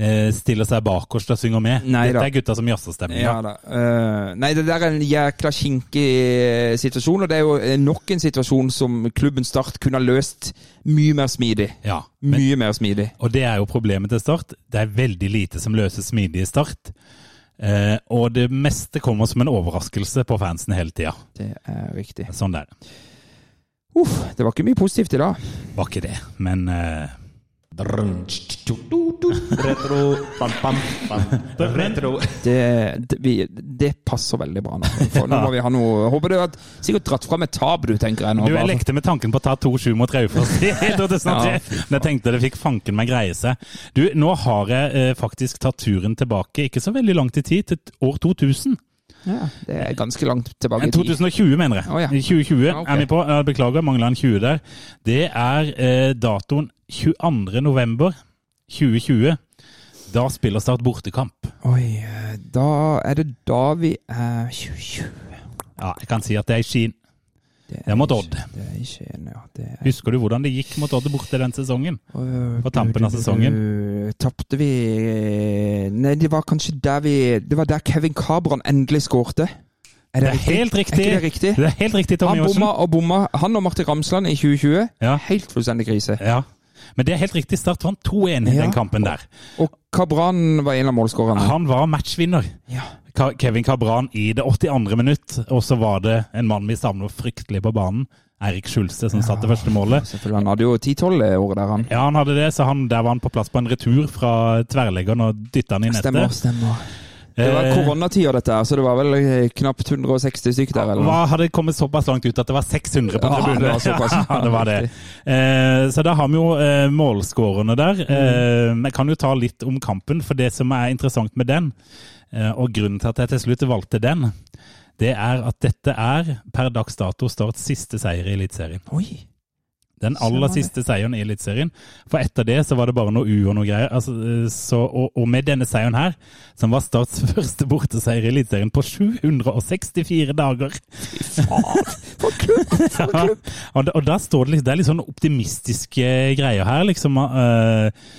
eh, stiller seg bak oss og synger med.
Nei da.
dette er gutta som jazzer stemninga.
Ja da. Eh, nei, det der er en jækla kinkig situasjon, og det er jo eh, nok en situasjon som klubben Start kunne ha løst mye mer smidig.
Ja, men-
Mye mer smidig.
Og det er jo problemet til Start. Det er veldig lite som løses smidig i Start. Eh, og det meste kommer som en overraskelse på fansen hele tida.
Det er riktig.
Sånn det er det.
Uff, det var ikke mye positivt i dag.
Var ikke det, men eh,
Retro pam, pam, pam. Retro.
Det, det, vi, det passer veldig bra nå. For
*laughs*
nå må vi ha noe Håper du har sikkert dratt fram et tap, du, tenker jeg nå.
Du, jeg
bare.
lekte med tanken på å ta 2-7 mot Raufoss
*laughs*
i 2003,
Ja,
men jeg tenkte det fikk fanken meg greie seg. Du, nå har jeg eh, faktisk tatt turen tilbake, ikke så veldig langt i tid, til år 2000.
Ja, det er ganske langt tilbake
Eh, 2020, mener jeg.
Å, ja.
I 2020
Ja, ok.
er vi på. Eh, Beklager, mangla en 20 der. Det er eh, datoen 22. november 2020. Da spiller Start bortekamp.
Oi, eh, da er det da vi er 2020.
Ja, jeg kan si at det er i Skien.
Det
er mot Odd.
Det er i Skien, ja. Det er,
Husker du hvordan det gikk mot Odd borte den sesongen?
Øh,
på tampen av
du- du-
sesongen.
du- eh, Tapte vi Nei, det var kanskje der vi Det var der Kevin Cabran endelig skårte. Er
Det er helt riktig!
Er ikke det riktig?
Det er helt riktig, Tommy
Han
Johnsen.
bomma og bomma. Han og Martin Ramsland i 2020.
Ja.
Helt fullstendig krise.
Ja. Men det er helt riktig. Start vant 2-1 i
Ja.
den kampen der.
Og Cabran var en av målskårerne.
Han var matchvinner.
Ja.
Ka- Kevin Cabran i det 82. minutt, og så var det en mann vi savner fryktelig på banen. Eirik Schulze som satte første målet.
Selvfølgelig, Han hadde jo 10-12 året der, han.
Ja, han hadde det, så han, der var han på plass på en retur fra tverrleggeren og dytta han i nettet.
Stemmer, stemmer. Det var
Eh,
koronatida, dette her, så det var vel eh, knapt 160 stykk der, eller
Hva
noe.
hadde kommet såpass langt ut at det var 600 på
Ja, det
tribunen?
var såpass.
*laughs* Ja, det var det. Eh, så da har vi jo eh, målskårene der.
Mm.
Eh, jeg kan jo ta litt om kampen, for det som er interessant med den, eh, og grunnen til at jeg til slutt valgte den, det er at dette er per dags dato Starts siste seier i Eliteserien.
Oi.
Den
Ser man
aller
det.
siste seieren i Eliteserien. For etter det så var det bare noe U og noe greier. Altså, eh, så, og, og med denne seieren her, som var Starts *laughs* første borteseier i Eliteserien på 764 dager ja. *laughs* og, da- og da står det litt, det er litt sånn optimistiske greier her, liksom. eh,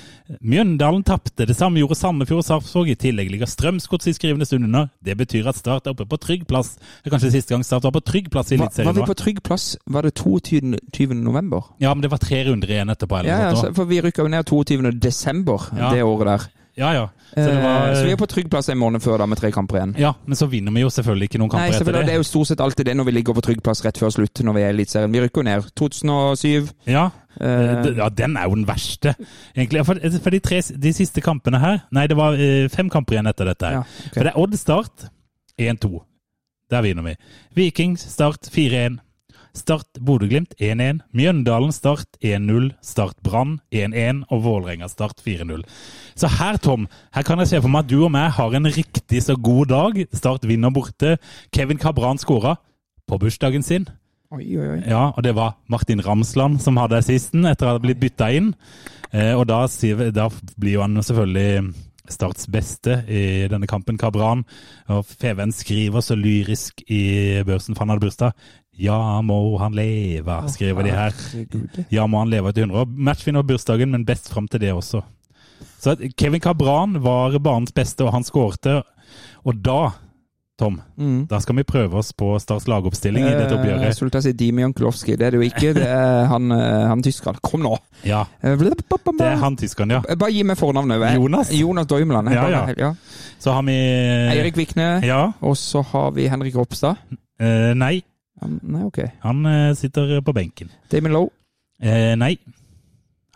Mjøndalen tapte, det samme gjorde Sandefjord og Sarpsborg. I tillegg ligger Strømsgodset i skrivende stund under. Det betyr at Start er oppe på trygg plass. Det er kanskje siste gang Start var på trygg plass i
Var, var
Eliteserien.
vi
nå.
på trygg plass? Var det 22. november?
Ja, men det var tre runder igjen etterpå. Eller
Ja,
noe
ja,
sånt
så- for vi rykka jo ned 22. desember
Ja.
det året der.
også. ja, ja. Så, det
Eh, så vi er
var,
på trygg plass en måned før da med tre kamper igjen.
ja, men så vinner vi jo selvfølgelig ikke noen
Nei,
kamper
selvfølgelig,
etter
Det
det.
er jo stort sett alltid det når vi ligger på trygg plass rett før slutt når vi er i Eliteserien. Vi rykker jo ned. 2007.
Ja.
Eh,
D- ja, den er jo den verste, egentlig. For, eh, for de, tre, de siste kampene her Nei, det var eh, fem kamper igjen etter dette. her.
ja,
For
ok.
det er Odd Start 1-2. Der vinner vi. Viking Start 4-1. Start Bodø-Glimt 1-1. Mjøndalen Start 1-0. Start Brann 1-1. Og Vålerenga Start 4-0. Så her, Tom, her kan jeg se for meg at du og meg har en riktig så god dag. Start vinner borte. Kevin Cabran skåra på bursdagen sin.
Oi, oi, oi.
Ja, og det var Martin Ramsland som hadde assisten etter å ha blitt bytta inn. Eh, og da, sier vi- da blir jo han selvfølgelig Starts beste i denne kampen, Kabran. Og Feven skriver så lyrisk i børsen, for han hadde bursdag. Ja, må han leve, skriver de her.
Herregud.
Ja, må han leve etter 100 år. Matchvinner bursdagen, men best fram til det også. Så at Kevin Kabran var banens beste, og han skårte. Og da, Tom,
Mm.
da skal vi prøve oss på Starts lagoppstilling i dette
Eh, Jeg
oppgjøret.
skulle til å si Dimian Kulowski. Det er det jo ikke.
*laughs*
Det er han, eh, han tyskeren. Kom nå!
Ja,
Eh,
det er han tyskeren, ja.
Eh, Bare gi meg fornavnet. Jeg-
Jonas.
Jonas Doimeland. Jeg
Ja, ja.
bare- ja.
Så har vi
Eirik Vikne.
Ja.
Og så har vi Henrik Ropstad.
Eh, nei,
Han- Nei, ok.
han eh, sitter på benken.
Damon Lowe.
Eh, nei.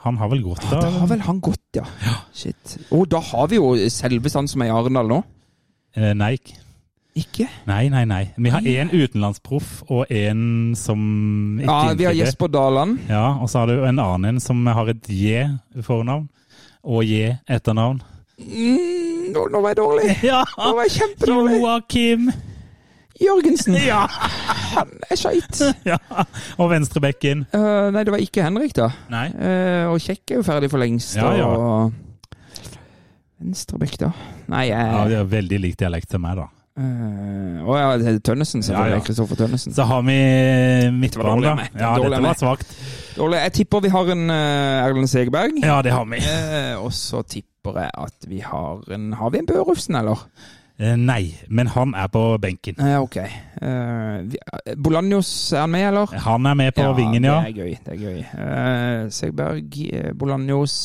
Han har vel gått
Da
da?
har vel han gått, ja. Shit. Å, da har vi jo selveste han som er i Arendal nå.
Eh, Nei.
Ikke?
Nei, nei, nei. Vi har én utenlandsproff og én som ikke
Ja, vi har
innfridde.
Jesper Daland.
Ja, og så har du en annen en som har et J fornavn og J etternavn. *laughs*
Mm, nå, nå var jeg dårlig.
Ja!
Nå var jeg kjempedårlig.
Joakim!
Jørgensen. Han er skeit.
*laughs* Ja. Og venstrebekken.
*laughs* Eh, nei, det var ikke Henrik, da.
Nei.
Eh, og Kjekk er jo ferdig for lengst.
Ja, ja.
Og Venstrebekk, da. Nei, jeg
Ja,
eh,
de har veldig lik dialekt til meg, da.
Å ja, det er Tønnesen,
Ja, ja.
selvfølgelig. Kristoffer Tønnesen.
Så har vi midtbanen,
dårlig av
da.
meg. Det var
Ja,
dårlig av
dette var
meg.
svakt.
Ole, jeg tipper vi har en eh, Erlend Segerberg.
Ja, det har vi.
Eh, og så tipper jeg at vi har en Har vi en Børufsen, eller?
Eh, Nei, men han er på benken.
Eh, ok. Eh, vi, eh, Bolanjos, er han med, eller?
Han er med på vingen, ja.
Det er gøy. det er gøy. Eh, Segberg, eh, Bolanjos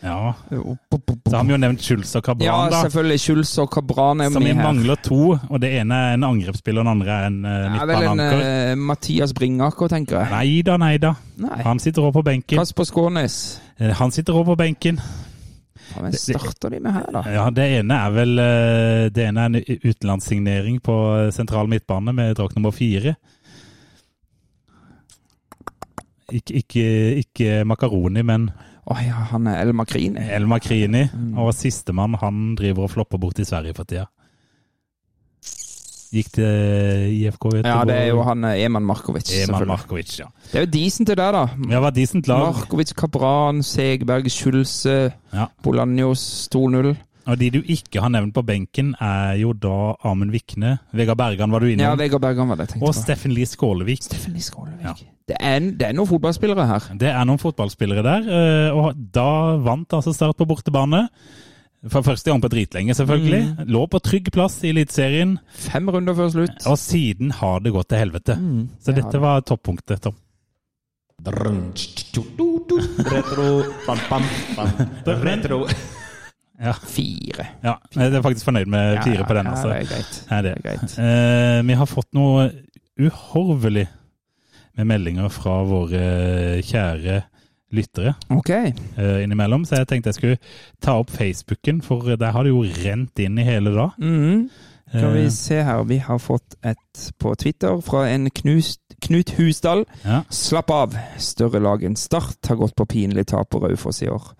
ja.
eh, opp, opp, opp,
Så har
opp.
vi jo nevnt Schulz og
Ja,
Cabran, da.
selvfølgelig. Schulz og Kabran er jo
Så vi
med her.
mangler to, og det ene er en angrepsspiller, og den andre er en uh,
Det er vel en
midtbaneanker.
eh, Mathias Bringaker, tenker jeg.
Nei da, nei da.
Nei.
Han sitter også på benken.
Kasper Skånes.
Eh, Han sitter også på benken.
Ja, Hvem starter de med her, da?
Ja, det ene er vel eh, Det ene er en utenlandssignering på eh, sentral midtbane med drakt nummer fire. Ikke, ikke, ikke Makaroni, men
Å ja, han er El Makrini.
El Makrini. Og sistemann, han driver og flopper bort i Sverige for tida. Gikk til eh, IFK Göteborg.
Ja, det er jo han eh, Eman Markovic.
Eman
selvfølgelig.
Markovic, ja.
Det er jo decent, det der, da.
Ja, var decent lag.
Markovic, Kabran, Segberg, eh, Schulze,
Ja.
Bolanjos 2-0.
Og de du ikke har nevnt på benken, er jo da Amund Vikne. Vegard Bergan var du
Ja,
innom.
Vegard Bergan var det jeg
og
tenkte på.
Steffen Lie Skålevik. Ja.
Det er, det er noen fotballspillere her.
Det er noen fotballspillere der, eh, og da vant altså Start på bortebane. For første gang på dritlenge, selvfølgelig.
Mm.
Lå på trygg plass i Eliteserien,
Fem runder før slutt.
og siden har det gått til helvete. Så
Mm, det har
dette
det.
var toppunktet, Tom.
Retro pam, pam, pam. Retro
Fire.
Ja, jeg er faktisk fornøyd med
Ja,
fire på den,
ja,
altså.
det er greit.
Er
Det er greit.
Eh, vi har fått noe uhorvelig med meldinger fra våre eh, kjære lyttere.
Ok.
eh, innimellom, så jeg tenkte jeg skulle ta opp Facebooken, for der har det jo rent inn i hele dag.
Mhm. Skal vi
Eh,
se her. Vi har fått et på Twitter fra en knust, Knut Husdal.
Ja.
Slapp av. Større lag enn Start har gått på pinlig tap på Raufoss i år.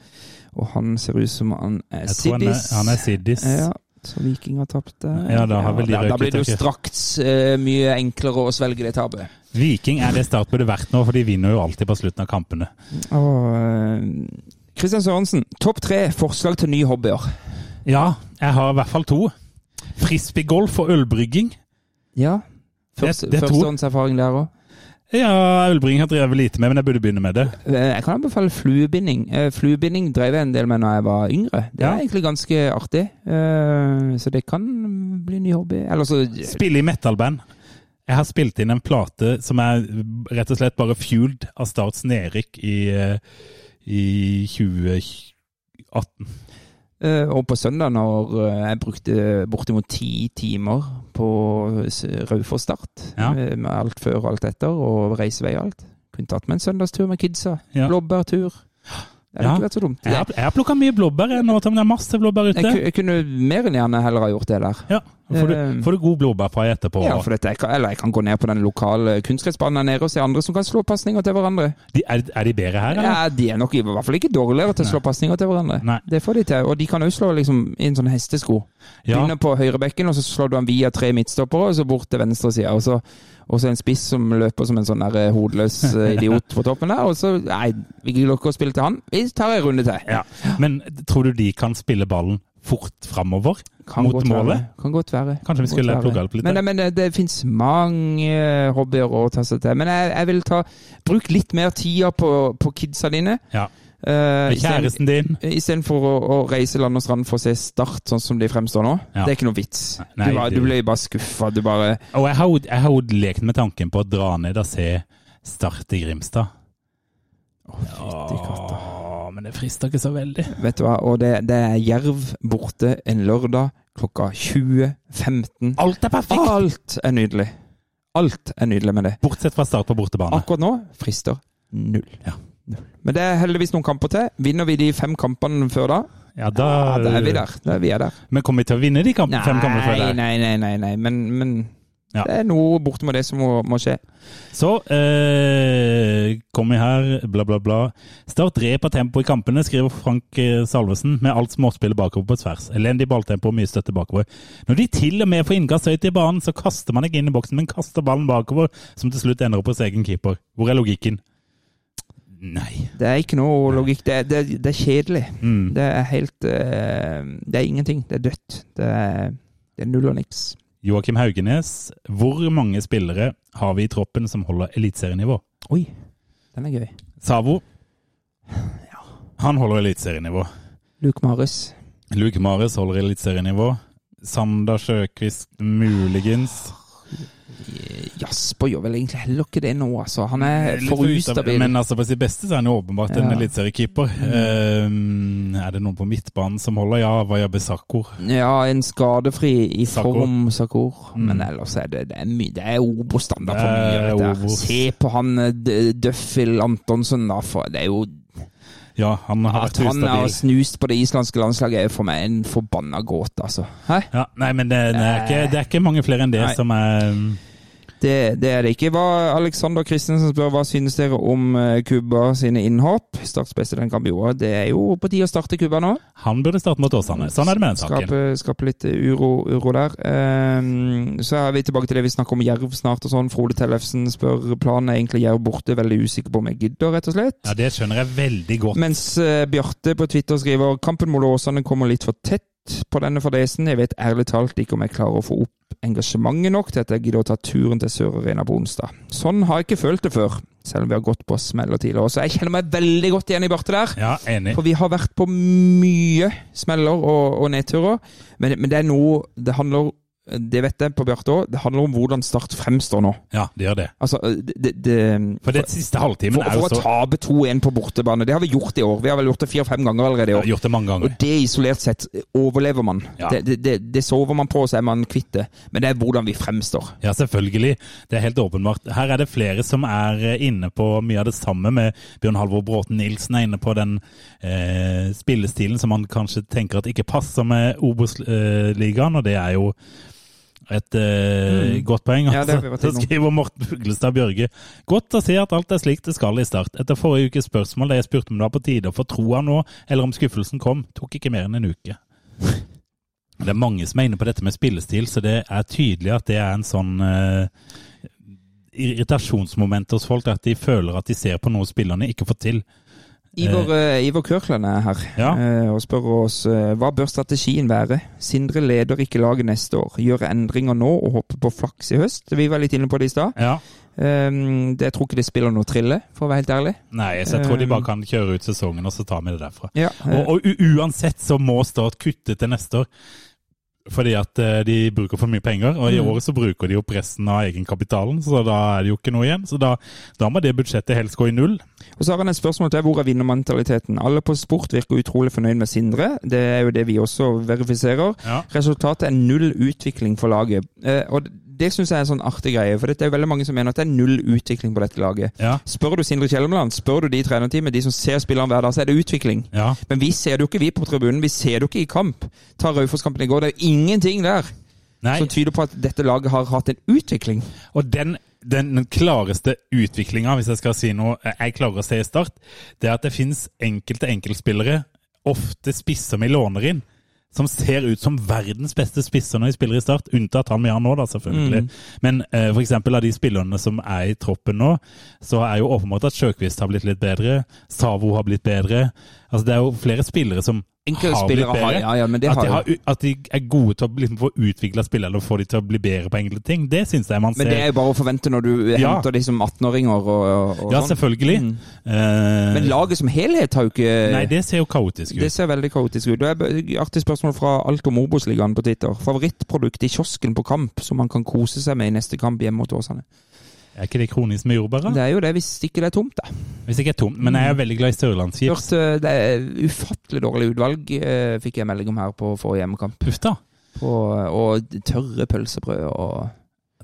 Og han ser ut som han er
jeg tror han er,
siddis.
han er siddis.
Ja, så Viking har tapt eh. det.
Ja, da har vel de
da, da
røket,
blir det jo
tenker jeg.
straks eh, mye enklere å svelge det tapet.
Viking er det Start burde vært nå, for de vinner jo alltid på slutten av kampene.
Og Kristian Sørensen, topp tre forslag til nye hobbyer.
Ja, jeg har i hvert fall to. Frisbeegolf og ølbrygging.
Ja. Først,
Det- det er to.
Førstehåndserfaring der òg.
Ja, ølbrygging har jeg drevet lite med, men jeg burde begynne med det.
Eh, Jeg kan anbefale fluebinding. Eh, Fluebinding drev jeg en del med da jeg var yngre. Det
Ja.
er egentlig ganske artig. Eh, Så det kan bli en ny hobby. Eller så
Spille i metalband. Jeg har spilt inn en plate som er rett og slett bare fueled av Starts nedrykk i, eh, i 2018.
Eh, Og på søndag, når eh, jeg brukte bortimot ti timer på s- Raufoss Start,
Ja.
eh, med alt før og alt etter, og reisevei og alt Kunne tatt meg en søndagstur med kidsa.
Ja.
Blåbærtur. Det hadde
Ja.
ikke vært så dumt.
Jeg har, jeg har plukka mye blåbær, jeg nå, Tom. Det er masse blåbær
Jeg,
ute.
ku- jeg kunne mer enn gjerne heller ha gjort det der.
Ja, får du,
Eh,
får du god blåbærpai etterpå.
Ja, for dette, jeg kan, eller jeg kan gå ned på den lokale kunstgressbanen her nede og se andre som kan slå pasninger til hverandre.
de, er, er de bedre her, eller?
Ja, De er nok i hvert fall ikke dårligere til å slå pasninger til hverandre.
Nei.
Det får de til. Og de kan òg slå liksom, i en sånn hestesko.
Ja.
Begynner på høyrebekken, og så slår du han via tre midtstoppere, og så bort til venstre side. Og så, og så en spiss som løper som en sånn der eh, hodeløs eh, idiot på toppen der. Og så Nei, vi gidder ikke å spille til han. Vi tar en runde til.
Ja. Men tror du de kan spille ballen fort framover?
Kan
mot
godt
målet?
Være. Kan godt være.
Kanskje vi
Godt
skulle
være.
plugge opp litt
Men,
der.
men det, det fins mange eh, hobbyer å ta seg til. Men jeg, jeg vil ta Bruk litt mer tida på, på kidsa dine.
Ja.
eh, i stedet-
Kjæresten din?
Istedenfor å, å reise land og strand for å se Start sånn som de fremstår nå.
Ja.
Det er ikke noe vits.
Nei,
du, bare,
det-
du blir bare skuffa. Du bare
Og jeg har jo- jeg har jo lekt med tanken på å dra ned og se Start i Grimstad.
Fytti katta.
Åh, men det frister ikke så veldig.
Vet du hva, og det, det er Jerv borte en lørdag klokka 20.15.
Alt er perfekt!
Alt er nydelig. Alt er nydelig med det.
Bortsett fra Start på bortebane.
Akkurat nå frister null.
Ja.
Men det er heldigvis noen kamper til. Vinner vi de fem kampene før da,
Ja, da,
ja, da er vi der. Da er vi er der.
Men kommer vi til å vinne de kamp, fem kampene før
nei,
der?
nei, nei, nei, nei. Men, men
Ja.
det er noe bortimot det som må, må skje.
Så eh, kom vi her, bla, bla, bla. Start rep av tempo i kampene, skriver Frank eh, Salvesen, med alt småspillet bakover på tvers. Elendig balltempo og mye støtte bakover. Når de til og med får innkast høyt i banen, så kaster man ikke inn i boksen, men kaster ballen bakover, som til slutt ender opp hos egen keeper. Hvor er logikken? Nei.
Det er ikke noe logikk. Det, er- det, er- det er kjedelig.
Mm.
Det er helt eh, Det er ingenting. Det er dødt. Det er, det er null og niks.
Joakim Haugenes, hvor mange spillere har vi i troppen som holder eliteserienivå?
Oi, den er gøy.
Savo. Han holder eliteserienivå.
Luke Marius.
Luke Mares holder eliteserienivå. Sander Sjøkvist muligens.
Jasper gjør vel egentlig heller ikke det nå, altså. Han er
Litt
for
utav-
ustabil.
Men altså på sitt beste så er han jo åpenbart en
Ja. Mm.
eliteseriekeeper. Ehm, er det noen på midtbanen som holder? Ja, Vaya Besakko.
Ja, en skadefri i
Sakor.
form, Sakur.
Mm.
Men ellers er det, det er mye Det er Obo-standard for mye.
Det er
av dette her.
Obos.
Se på han eh, D- Døffel Antonsson, da. For det er jo
Ja, han har
At
vært
han har
ustabil.
snust på det islandske landslaget, er jo for meg en forbanna gåte, altså. Hæ?
Ja, nei, men det, det, er ikke, det er ikke mange flere enn det
Nei.
som er
Det, det er det ikke. Hva, Alexander Christensen spør hva synes dere om eh, Cuba sine innhopp? Starts best i den kampen i år. Det er jo på tide å starte Cuba nå.
Han burde starte mot Åsane. Sånn er det med den saken.
Skape, skape litt uro, uro der. Ehm, så er vi tilbake til det vi snakker om Jerv snart og sånn. Frode Tellefsen spør planen er egentlig Jerv borte. Veldig usikker på om jeg gidder, rett og slett.
Ja, Det skjønner jeg veldig godt.
Mens eh, Bjarte på Twitter skriver kampen mot Åsane kommer litt for tett på denne fadesen. Jeg vet ærlig talt ikke om jeg klarer å få opp engasjementet nok til at jeg gidder å ta turen til Sør Arena på onsdag. Sånn har jeg ikke følt det før, selv om vi har gått på smeller tidligere. Så jeg kjenner meg veldig godt igjen i Bjarte der.
Ja, enig.
For vi har vært på mye smeller og, og nedturer, men, men det er noe Det handler det vet jeg på Bjarte òg. Det handler om hvordan Start fremstår nå.
Ja, det gjør det.
Altså, det, det, det
For den siste halvtimen
for,
er jo
for å
så
tape 2-1 på bortebane. Det har vi gjort i år. Vi har vel gjort det fire-fem ganger allerede i
Jeg har
år.
Gjort det mange ganger.
Og det isolert sett overlever man.
Ja.
Det, det, det, det sover man på, og så er man kvitt det. Men det er hvordan vi fremstår.
Ja, selvfølgelig. Det er helt åpenbart. Her er det flere som er eh, inne på mye av det samme med Bjørn Halvor Bråten Nilsen, er inne på den eh, spillestilen som han kanskje tenker at ikke passer med Obos-ligaen, og det er jo et eh, godt poeng.
Mm. Ja, det
Altså. *laughs*
har vi vært
så
innom.
skriver Morten Fuglestad Bjørge godt å se at alt er slik det skal i start. Etter forrige ukes spørsmål da jeg spurte om det var på tide å få troa nå, eller om skuffelsen kom, tok ikke mer enn en uke. Det er mange som er inne på dette med spillestil, så det er tydelig at det er en sånn eh, irritasjonsmoment hos folk, at de føler at de ser på noe spillerne ikke får til.
Ivar, eh, Ivar Kørkland er her
Ja.
eh, og spør oss eh, hva bør strategien være. Sindre leder ikke laget neste år. Gjøre endringer nå og håpe på flaks i høst. Vi var litt inne på det i stad.
Ja.
Eh, det- jeg tror ikke det spiller noe trille, for å være helt ærlig.
Nei, så jeg tror de bare
Eh.
kan kjøre ut sesongen, og så tar vi det derfra.
Ja, eh,
Og, og u- uansett så må Start kutte til neste år. Fordi at eh, de bruker for mye penger, og i
Mm.
året så bruker de opp resten av egenkapitalen, så da er det jo ikke noe igjen. Så da, da må det budsjettet helst gå i null.
Og så har han et spørsmål til. Hvor er vinnermentaliteten? Alle på sport virker utrolig fornøyd med Sindre. Det er jo det vi også verifiserer.
Ja.
Resultatet er null utvikling for laget. Eh, og det syns jeg er en sånn artig greie, for det er jo veldig mange som mener at det er null utvikling på dette laget.
Ja.
Spør du Sindre Kjellemland, spør du de i trenerteamet, de som ser spilleren hver dag, så er det utvikling.
Ja.
Men vi ser det jo ikke, vi på tribunen. Vi ser det jo ikke i kamp. Ta Raufoss-kampen i går, det er jo ingenting der
Nei.
som tyder på at dette laget har hatt en utvikling.
Og den, den klareste utviklinga, hvis jeg skal si noe jeg klarer å se i start, det er at det finnes enkelte enkeltspillere, ofte spisser vi låner inn, som ser ut som verdens beste spisser når de spiller i start, unntatt han vi har nå, da,
Mm.
selvfølgelig. Men eh, for eksempel av de spillerne som er i troppen nå, så er jo åpenbart at Sjøkvist har blitt litt bedre, Savo har blitt bedre. Altså det er jo flere spillere som har blitt
Enkeltspillere
bedre.
har, ja, ja, men det
at,
har
de
jo.
har, u- at de er gode til å liksom, få utvikla spillere eller få de til å bli bedre på enkelte ting, det syns jeg man ser.
Men det er jo bare å forvente når du
Ja.
henter de som 18-åringer og, og, og
Ja,
sånn.
selvfølgelig. Eh,
Men laget som helhet har jo ikke
Nei, det ser jo kaotisk ut.
det ser veldig kaotisk ut. Det er b- artig spørsmål fra Alt om Obos-ligaen på Twitter. Favorittprodukt i kiosken på kamp som man kan kose seg med i neste kamp hjemme mot Åsane.
Er ikke det kronisk med jordbær? da?
Det er jo det, hvis ikke det er tomt, da.
Hvis ikke er tomt. Men
Mm.
jeg er veldig glad i sørlandschips.
Hørt, eh, det er ufattelig dårlig utvalg, eh, fikk jeg melding om her på eh, forrige hjemmekamp.
Puff, da.
På, og tørre pølsebrød og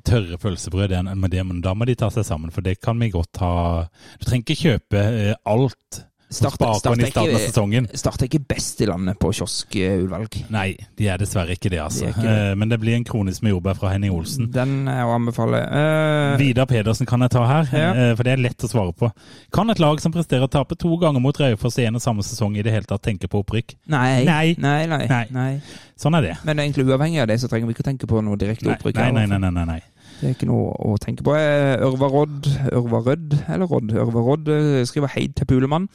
tørre pølsebrød, det er- men det, men da må de ta seg sammen, for det kan vi godt ha Du trenger ikke kjøpe eh, alt som
Starter-
Sparkon i
starter
starten av
ikke-
sesongen.
Starter ikke best i landet på eh, kioskutvalg.
Nei, de er dessverre ikke det, altså.
De er ikke det.
Eh, Men det blir en kronisk med jordbær fra Henning Olsen.
Den er å anbefale. Eh,
Vidar Pedersen kan jeg ta her,
Ja.
eh, for det er lett å svare på. Kan et lag som presterer å tape to ganger mot Raufoss i en og samme sesong i det hele tatt tenke på opprykk?
nei.
Nei.
Nei, nei, nei.
Nei. Sånn er det.
Men egentlig uavhengig av det, så trenger vi ikke tenke på noe direkte
Nei,
opprykk.
nei,
her,
nei.
altså.
nei, nei, nei.
Det er ikke noe å tenke på. Eh, Ørva Rodd, Ørva Rødd, eller Rodd, Ørva Rodd eh, skriver Heid til Pulemann.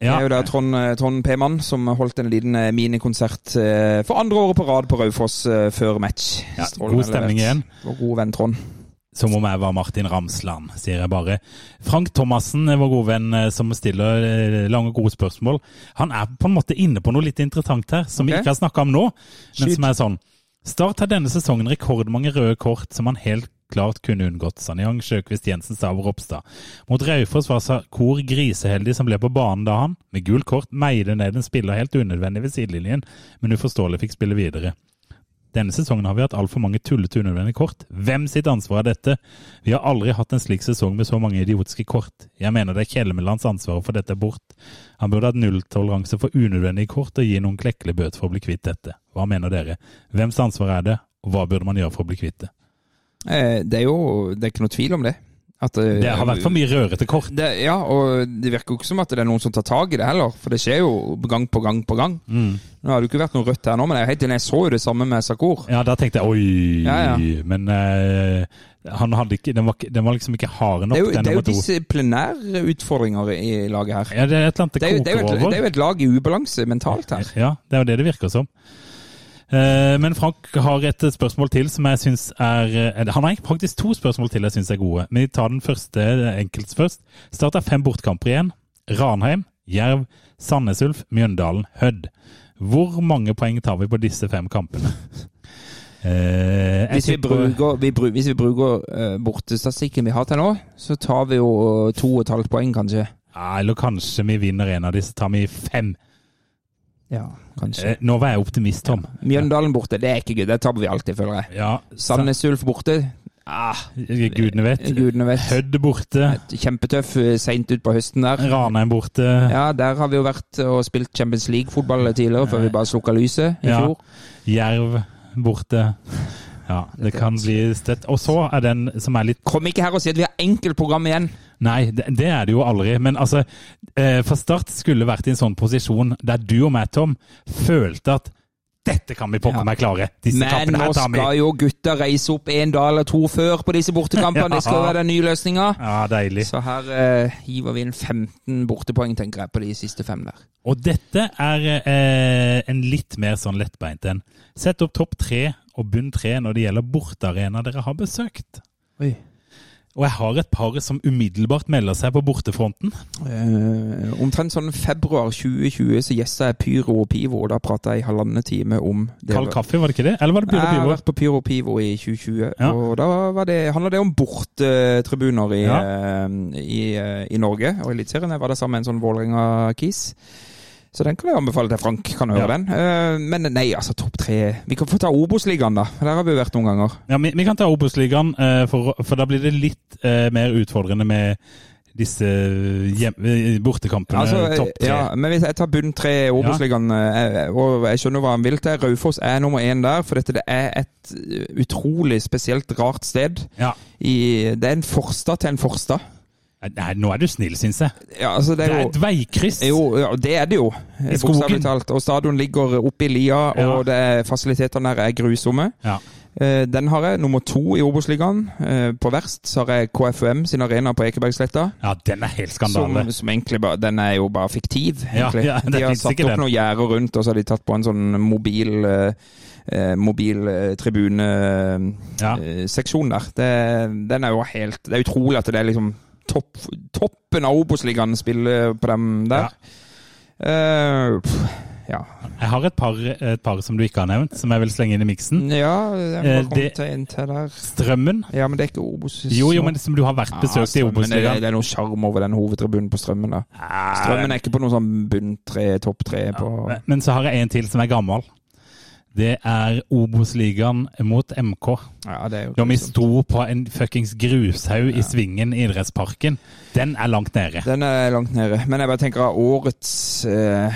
Det
Ja,
er jo da Trond, eh, Trond P-mann som holdt en liten eh, minikonsert eh, for andre året på rad på Raufoss eh, før match.
Ja,
Strålende
god stemning
levert.
igjen.
Vår gode venn Trond.
Som om jeg var Martin Ramsland, sier jeg bare. Frank Thomassen, vår gode venn eh, som stiller eh, lange og gode spørsmål, han er på en måte inne på noe litt interessant her, som
Ok.
vi ikke har snakka om nå, men
Skyt.
som er sånn. Start har denne sesongen rekordmange røde kort som han helt klart kunne unngått. Sanjang, Sjøkvist, Jensen, Staver, Ropstad. Mot Raufoss var Sarkor griseheldig som ble på banen da han, med gult kort, meide ned en spiller helt unødvendig ved sidelinjen, men uforståelig fikk spille videre. Denne sesongen har vi hatt altfor mange tullete unødvendige kort. Hvem sitt ansvar er dette? Vi har aldri hatt en slik sesong med så mange idiotiske kort. Jeg mener det er Kjelmelands ansvar å få dette bort. Han burde hatt nulltoleranse for unødvendige kort og gi noen klekkelig bøter for å bli kvitt dette. Hva mener dere? Hvems ansvar er det, og hva burde man gjøre for å bli kvitt det?
Eh, det er jo det er ikke noe tvil om det. At, eh,
Det har vært for mye rørete kort.
det, ja, og det virker jo ikke som at det er noen som tar tak i det heller, for det skjer jo gang på gang på gang.
Mm.
Nå har det jo ikke vært noe rødt her nå, men jeg, er helt enig, jeg så jo det samme med Sakur.
Ja, da tenkte jeg oi,
Ja,
men eh, han hadde ikke, den, var, ikke- den var liksom ikke hard nok,
Det er jo,
den
det er jo
nummer to.
disiplinære utfordringer i laget her.
Ja, det er et eller annet
Det er, jo, det, er
koker
jo et,
over.
det er jo et lag i ubalanse mentalt her.
Ja, det er jo det det virker som. Eh, Men Frank har et spørsmål til som jeg syns er eh, Han har faktisk to spørsmål til jeg syns er gode. Men vi tar den første eh, enkelt først. Start har fem bortkamper igjen. Ranheim, Jerv, Sandnes Ulf, Mjøndalen, Hødd. Hvor mange poeng tar vi på disse fem kampene? *laughs* Eh, jeg
Hvis vi
tipper-
bruker, vi bru- hvis vi bruker eh, bortestatistikken vi har til nå, så tar vi jo eh, to og et halvt poeng, kanskje.
Ja, Eller kanskje vi vinner en av disse, tar vi fem.
Ja, kanskje.
Eh, Nå var jeg optimist, Tom.
Mjøndalen borte, det er ikke gøy. Det taper vi alltid, føler jeg.
Ja, sa-
Sandnes Ulf borte,
Gudene vet.
gudene vet.
Hødd borte.
Kjempetøff eh, seint utpå høsten der.
Ranheim borte.
Ja, der har vi jo vært og spilt Champions League-fotball tidligere, før vi bare slukka lyset
Eh.
i
Ja.
fjor.
Jerv borte. Ja, det kan bli støtt. Og så er den som er litt
Kom ikke her og si at vi har enkelt program igjen!
Nei, det, det er det jo aldri. Men altså, eh, for Start skulle vært i en sånn posisjon der du og meg, Tom, følte at dette kan vi pokker meg klare. Disse
Men
kampene
nå
her tar vi.
skal jo gutta reise opp en dag eller to før på disse *laughs* bortekampene. Det skal jo være den nye løsninga.
Ja, deilig.
Så her eh, hiver vi inn 15 bortepoeng, tenker jeg, på de siste fem der.
Og dette er eh, en litt mer sånn lettbeint en. Sett opp topp tre og bunn tre når det gjelder bortearena dere har besøkt.
Oi.
Og jeg har et par som umiddelbart melder seg på bortefronten.
omtrent sånn februar 2020 så gjessa jeg Pyro og Pivo, og da prata jeg i halvannen time om det.
Kald kaffe, var det ikke det? Eller var det
Jeg
Bjørn
har
Pivo?
vært på Pyro og Pivo i 2020,
Ja.
og da var det, handla det om bortetribuner i,
Ja.
eh, i, eh, i Norge og Eliteserien. Jeg var der sammen med en sånn Vålerenga-kis. Så den kan jeg anbefale til Frank. kan du høre
Ja.
den. Eh, Men nei, altså, topp tre Vi kan få ta Obos-ligaen, da. Der har vi jo vært noen ganger.
Ja, vi, vi kan ta Obos-ligaen, eh, for, for da blir det litt eh, mer utfordrende med disse hjem, eh, bortekampene.
Altså, eh,
topp tre.
Ja, men hvis jeg tar bunn tre i Obos-ligaen, eh, og jeg skjønner hva han vil til. Raufoss er nummer én der, for dette det er et eh, utrolig spesielt rart sted.
Ja.
I, det er en forstad til en forstad.
Nei, nå er du snill, syns jeg.
Ja, altså, det
Det
er
er
jo
et veikryss.
Jo, ja, det er det jo.
I skogen.
Bokstavelig talt. Og stadion ligger oppe i lia, og det er, fasilitetene der er grusomme.
Ja.
Eh, Den har jeg, nummer to i Obos-ligaen. Eh, På verst så har jeg KFUM sin arena på Ekebergsletta.
ja, den er helt
Som,
skandale.
som egentlig bare Den er jo bare fiktiv,
Ja,
egentlig.
ja, det
de har
finnes
satt
ikke
opp
den.
noen gjerder rundt, og så har de tatt på en sånn mobil eh, eh, Mobil eh, tribune eh,
Ja.
eh, seksjon der. Det, den er jo helt Det er utrolig at det er liksom topp, toppen av Obos-ligaen spiller på dem der. Eh, pff, ja.
Jeg har et par, et par som du ikke har nevnt, som jeg vil slenge inn i miksen.
ja, jeg må
Eh,
komme
det-
til en til der.
Strømmen.
Ja, men det er ikke Obos.
Jo, jo, men som du har vært besøkt i
Ja, strømmen, det,
Obos-ligaen.
det er noe sjarm over den hovedtribunen på Strømmen. da Strømmen er ikke på noe sånn bunn tre, topp tre på
Men så har jeg en til som er gammel. Det er Obos-ligaen mot MK.
Ja, det er jo liksom-
Da vi
grusomt.
sto på en fuckings grushaug i Svingen i idrettsparken. Den er langt nede.
Den er langt nede. Men jeg bare tenker av årets eh,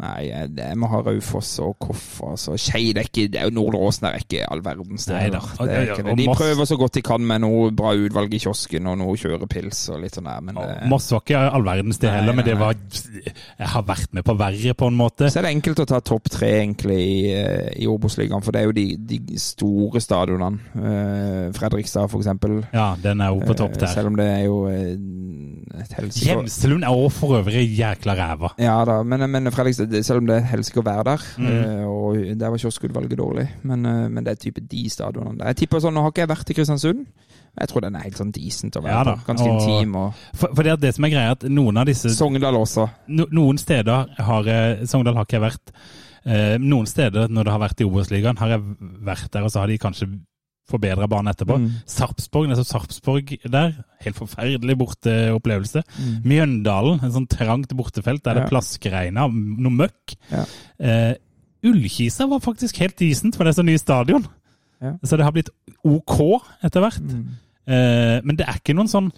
Nei, jeg, jeg må ha Raufoss og Koff. Altså. Skeid er ikke det er jo Nordre Åsen er ikke all verdens det,
Neida.
da. Det er ikke det. De
Og Moss-
prøver så godt de kan med noe bra utvalg i kiosken og noe kjørepils og litt sånn der, men
Og
det,
Moss var ikke all verdens det
Nei,
heller, men
nei,
det var Jeg har vært med på verre, på en måte.
Så er det enkelt å ta topp tre egentlig i, eh, i Obos-ligaen, for det er jo de, de store stadionene. Eh, Fredrikstad, for eksempel.
Ja, den er jo på topp
Eh,
der.
Selv om det er jo eh, et helsike å-
Gjemselund er òg for øvrig jækla ræva.
Ja da, men, men Fredrikstad, det- selv om det er et helsike å være der,
Mm.
eh, og der var kioskutvalget dårlig, men, eh, men det er type de stadionene der. Jeg tipper sånn, Nå har ikke jeg vært i Kristiansund, men jeg tror den er helt sånn decent å være
Ja da,
på. Ganske
og-
intim. og
For, for det, er det som er greia, er at noen av disse
Sogndal også.
no, Noen steder har eh, Sogndal har ikke jeg vært. Eh, noen steder når det har vært i Obos-ligaen, har jeg vært der, og så har de kanskje forbedra banen etterpå.
Mm.
Sarpsborg, nettopp Sarpsborg der. Helt forferdelig borteopplevelse. Mjøndalen, en sånn trangt bortefelt der
Mm. Ja.
det plaskregna noe møkk.
Ja.
Eh, Ullkisa var faktisk helt decent, for det er så ny stadion.
Ja. Mm.
Så det har blitt OK etter hvert. Eh, men det er ikke noen sånn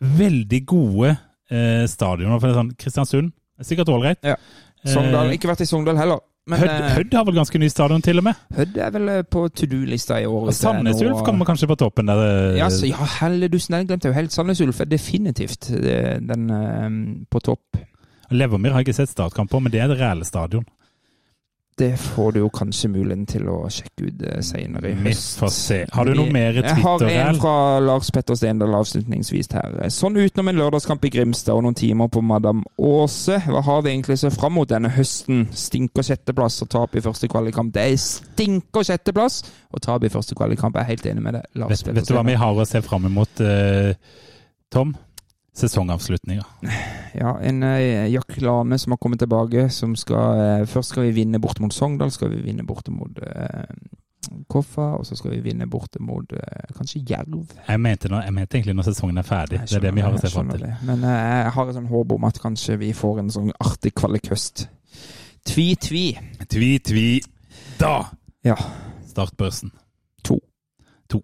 veldig gode eh, stadioner. For det er sånn Kristiansund er sikkert ålreit.
Ja. Sogndal,
Eh,
Ikke vært i Sogndal heller. Men
Hødd,
eh,
Hødd har vel ganske ny stadion, til og med.
Hødd er vel eh, på to do-lista i år.
Og
hvis det er
Sandnes
noe-
Ulf kommer kanskje på toppen der. eh,
eh, Ja, så, ja helledusen, den glemte jeg jo helt. Sandnes Ulf er definitivt eh, den eh, på topp.
Levermyr har jeg ikke sett startkamp på, men det er et reelle stadion.
Det får du jo kanskje muligheten til å sjekke ut eh, senere i
Vi
høst.
får se. Har du noe mer
Jeg har en
Twitter-ræl?
fra Lars Petter Stendal avslutningsvis her. Sånn utenom en lørdagskamp i Grimstad og noen timer på Madam Åse, hva har vi egentlig så fram mot denne høsten? Stinker sjetteplass og tap i første kvalikkamp. Det er stinker sjetteplass og tap i første kvalikkamp. Jeg er helt enig med deg, Lars
Vet,
Petter
vet du hva vi har
Stendal.
å se fram imot, eh, Tom? Sesongavslutninga.
Ja, en eh, Jack Lane som har kommet tilbake, som skal eh, Først skal vi vinne borte mot Sogndal, skal vi vinne borte mot eh, Koffa, og så skal vi vinne borte mot eh, kanskje Jerv.
Jeg mente, nå, jeg mente egentlig når sesongen er ferdig.
Jeg
Det er det vi har å se fram
skjønner
til.
det. Men eh, jeg har et sånn håp om at kanskje vi får en sånn artig kvalikhøst. Tvi, tvi.
Tvi, tvi, da!
Ja.
Startbørsen.
To.
To.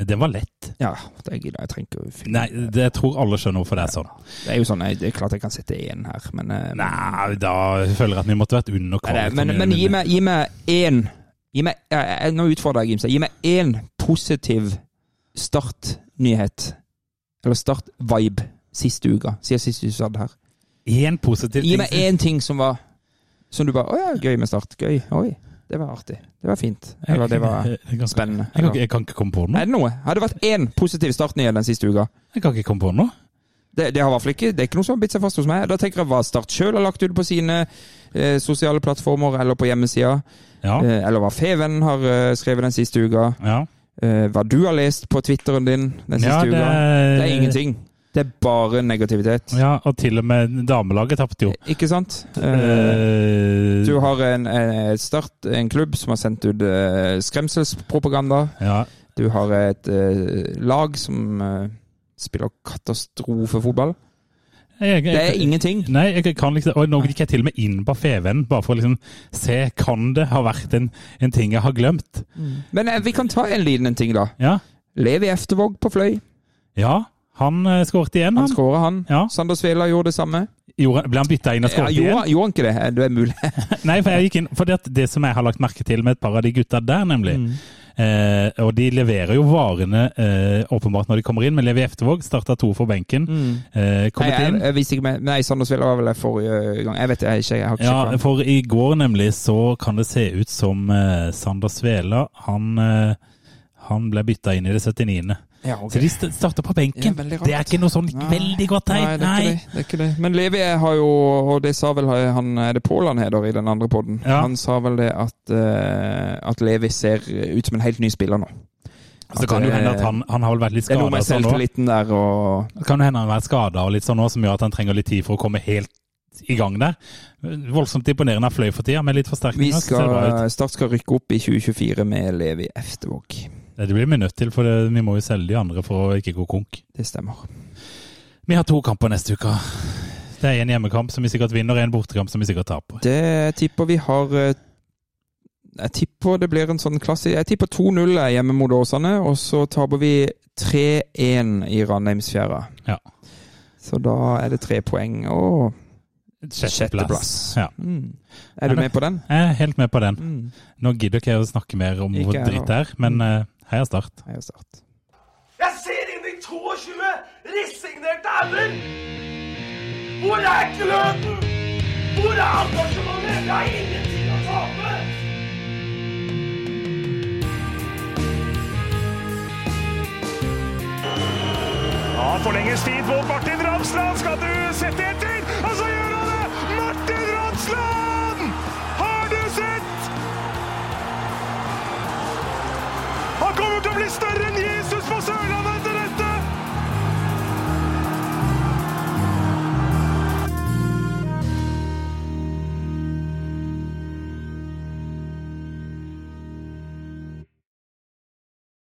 Den var lett.
Ja, det gidder jeg. Jeg trenger ikke å fylle
Nei, det, jeg tror alle skjønner hvorfor det er sånn.
Det er jo sånn, jeg, det er klart jeg kan sette én her, men eh,
Nei, da føler jeg at vi måtte vært under
Nei, det er-
kvalitet.
Men, men gi meg- gi meg én Gi meg ja, jeg- Nå utfordrer jeg Gimstad. Gi meg én positiv startnyhet. Eller start-vibe siste uka, siden sist du satt her.
Én positiv
Gi
ting.
meg én ting som var Som du bare Å ja, gøy med start. Gøy. Oi. Det var artig. Det var fint. Eller det
*laughs*
var
Jeg kan ikke-
spennende.
Jeg kan, ikke- jeg kan ikke komme på noe.
Er det noe? Har det vært én positiv startnyhet den siste uka?
Jeg kan ikke komme på noe.
Det, det har i hvert fall ikke, det er ikke noe som har bitt seg fast hos meg. Da tenker jeg hva Start sjøl har lagt ut på sine eh, sosiale plattformer eller på hjemmesida.
Ja.
Eh, eller hva Feven har eh, skrevet den siste uka.
ja.
Eh, hva du har lest på Twitteren din den siste
Ja, det
uka.
er-
Det er ingenting. Det er bare negativitet.
ja og til og med damelaget tapte jo.
Ikke sant? Eh,
Eh,
du har en, eh, start, en klubb som har sendt ut eh, skremselspropaganda.
ja.
Du har et eh, lag som eh, spiller katastrofefotball.
Jeg- jeg-
Det er ingenting.
Nei, jeg kan liksom, og nå gikk jeg til og med inn på FVN, bare for å liksom se kan det ha vært en, en ting jeg har glemt.
Men eh, vi kan ta en liten en ting, da.
Ja,
Levi Eftervåg på Fløy.
ja han eh, skåret igjen,
Han
han.
skåra, han.
Ja.
Sander Svela gjorde det samme.
Gjorde, ble han bytta inn og
Ja,
skåret
gjorde,
igjen?
han- gjorde han ikke det? Eh, Det er mulig.
Nei, for jeg gikk inn, for det, at det som jeg har lagt merke til med et par av de gutta der, nemlig
Mm.
eh, Og de leverer jo varene eh, åpenbart når de kommer inn, men Levi Eftervåg starta to for benken. Eh,
Mm. Nei,
kommet
jeg,
inn.
jeg visste ikke mer. Nei, Sander Svela var vel der forrige gang. Jeg vet jeg, ikke. Jeg har ikke
Ja,
sjekket.
for i går nemlig så kan det se ut som eh, Sander Svela Han, eh, han ble bytta inn i det 79.
Ja, ok.
Så de st- starter på benken.
Ja, veldig rart.
det er ikke noe sånn
Nei.
veldig godt
Nei,
tegn.
det er,
Nei.
Ikke det. det er ikke det. Men Levi har jo, og det sa vel han Er det Pål han heter i den andre poden?
Ja.
Han sa vel det at, eh, at Levi ser ut som en helt ny spiller nå.
Så kan det jo hende at han, han har vel vært litt
Det er noe
skada
med
sånn nå.
selvtilliten der og
Kan jo hende han har vært skadet og litt sånn nå, som gjør at han trenger litt tid for å komme helt i gang der. Voldsomt imponerende av Fløy for tida, med litt
Vi
forsterkninger. så ser det bra ut.
skal, Start skal rykke opp i 2024 med Levi Eftervåg.
Det blir vi nødt til, for det, vi må jo selge de andre for å ikke gå konk.
Det stemmer.
Vi har to kamper neste uke. Det er en hjemmekamp som vi sikkert vinner, og en bortekamp som vi sikkert taper.
Det tipper vi har eh, jeg tipper det blir en sånn klassisk Jeg tipper 2-0 er hjemme mot Åsane, og så taper vi 3-1 i Ranheimsfjæra.
Ja.
Så da er det tre poeng og sjetteplass.
Ja.
Mm. Er du
Men-
med på den?
Jeg er helt med på den.
Mm.
Nå gidder ikke jeg å snakke mer om hvor
Ikke jeg Mm.
dritt det er, men eh, heia Start.
Jeg har start.
Jeg ser inn i 22 resignerte ender! Hvor er gløden? Hvor er engasjementet? Jeg har ingenting å tape!
Ja, forlenges tid mot Martin Ramsland. Skal du sette etter? Og så gjør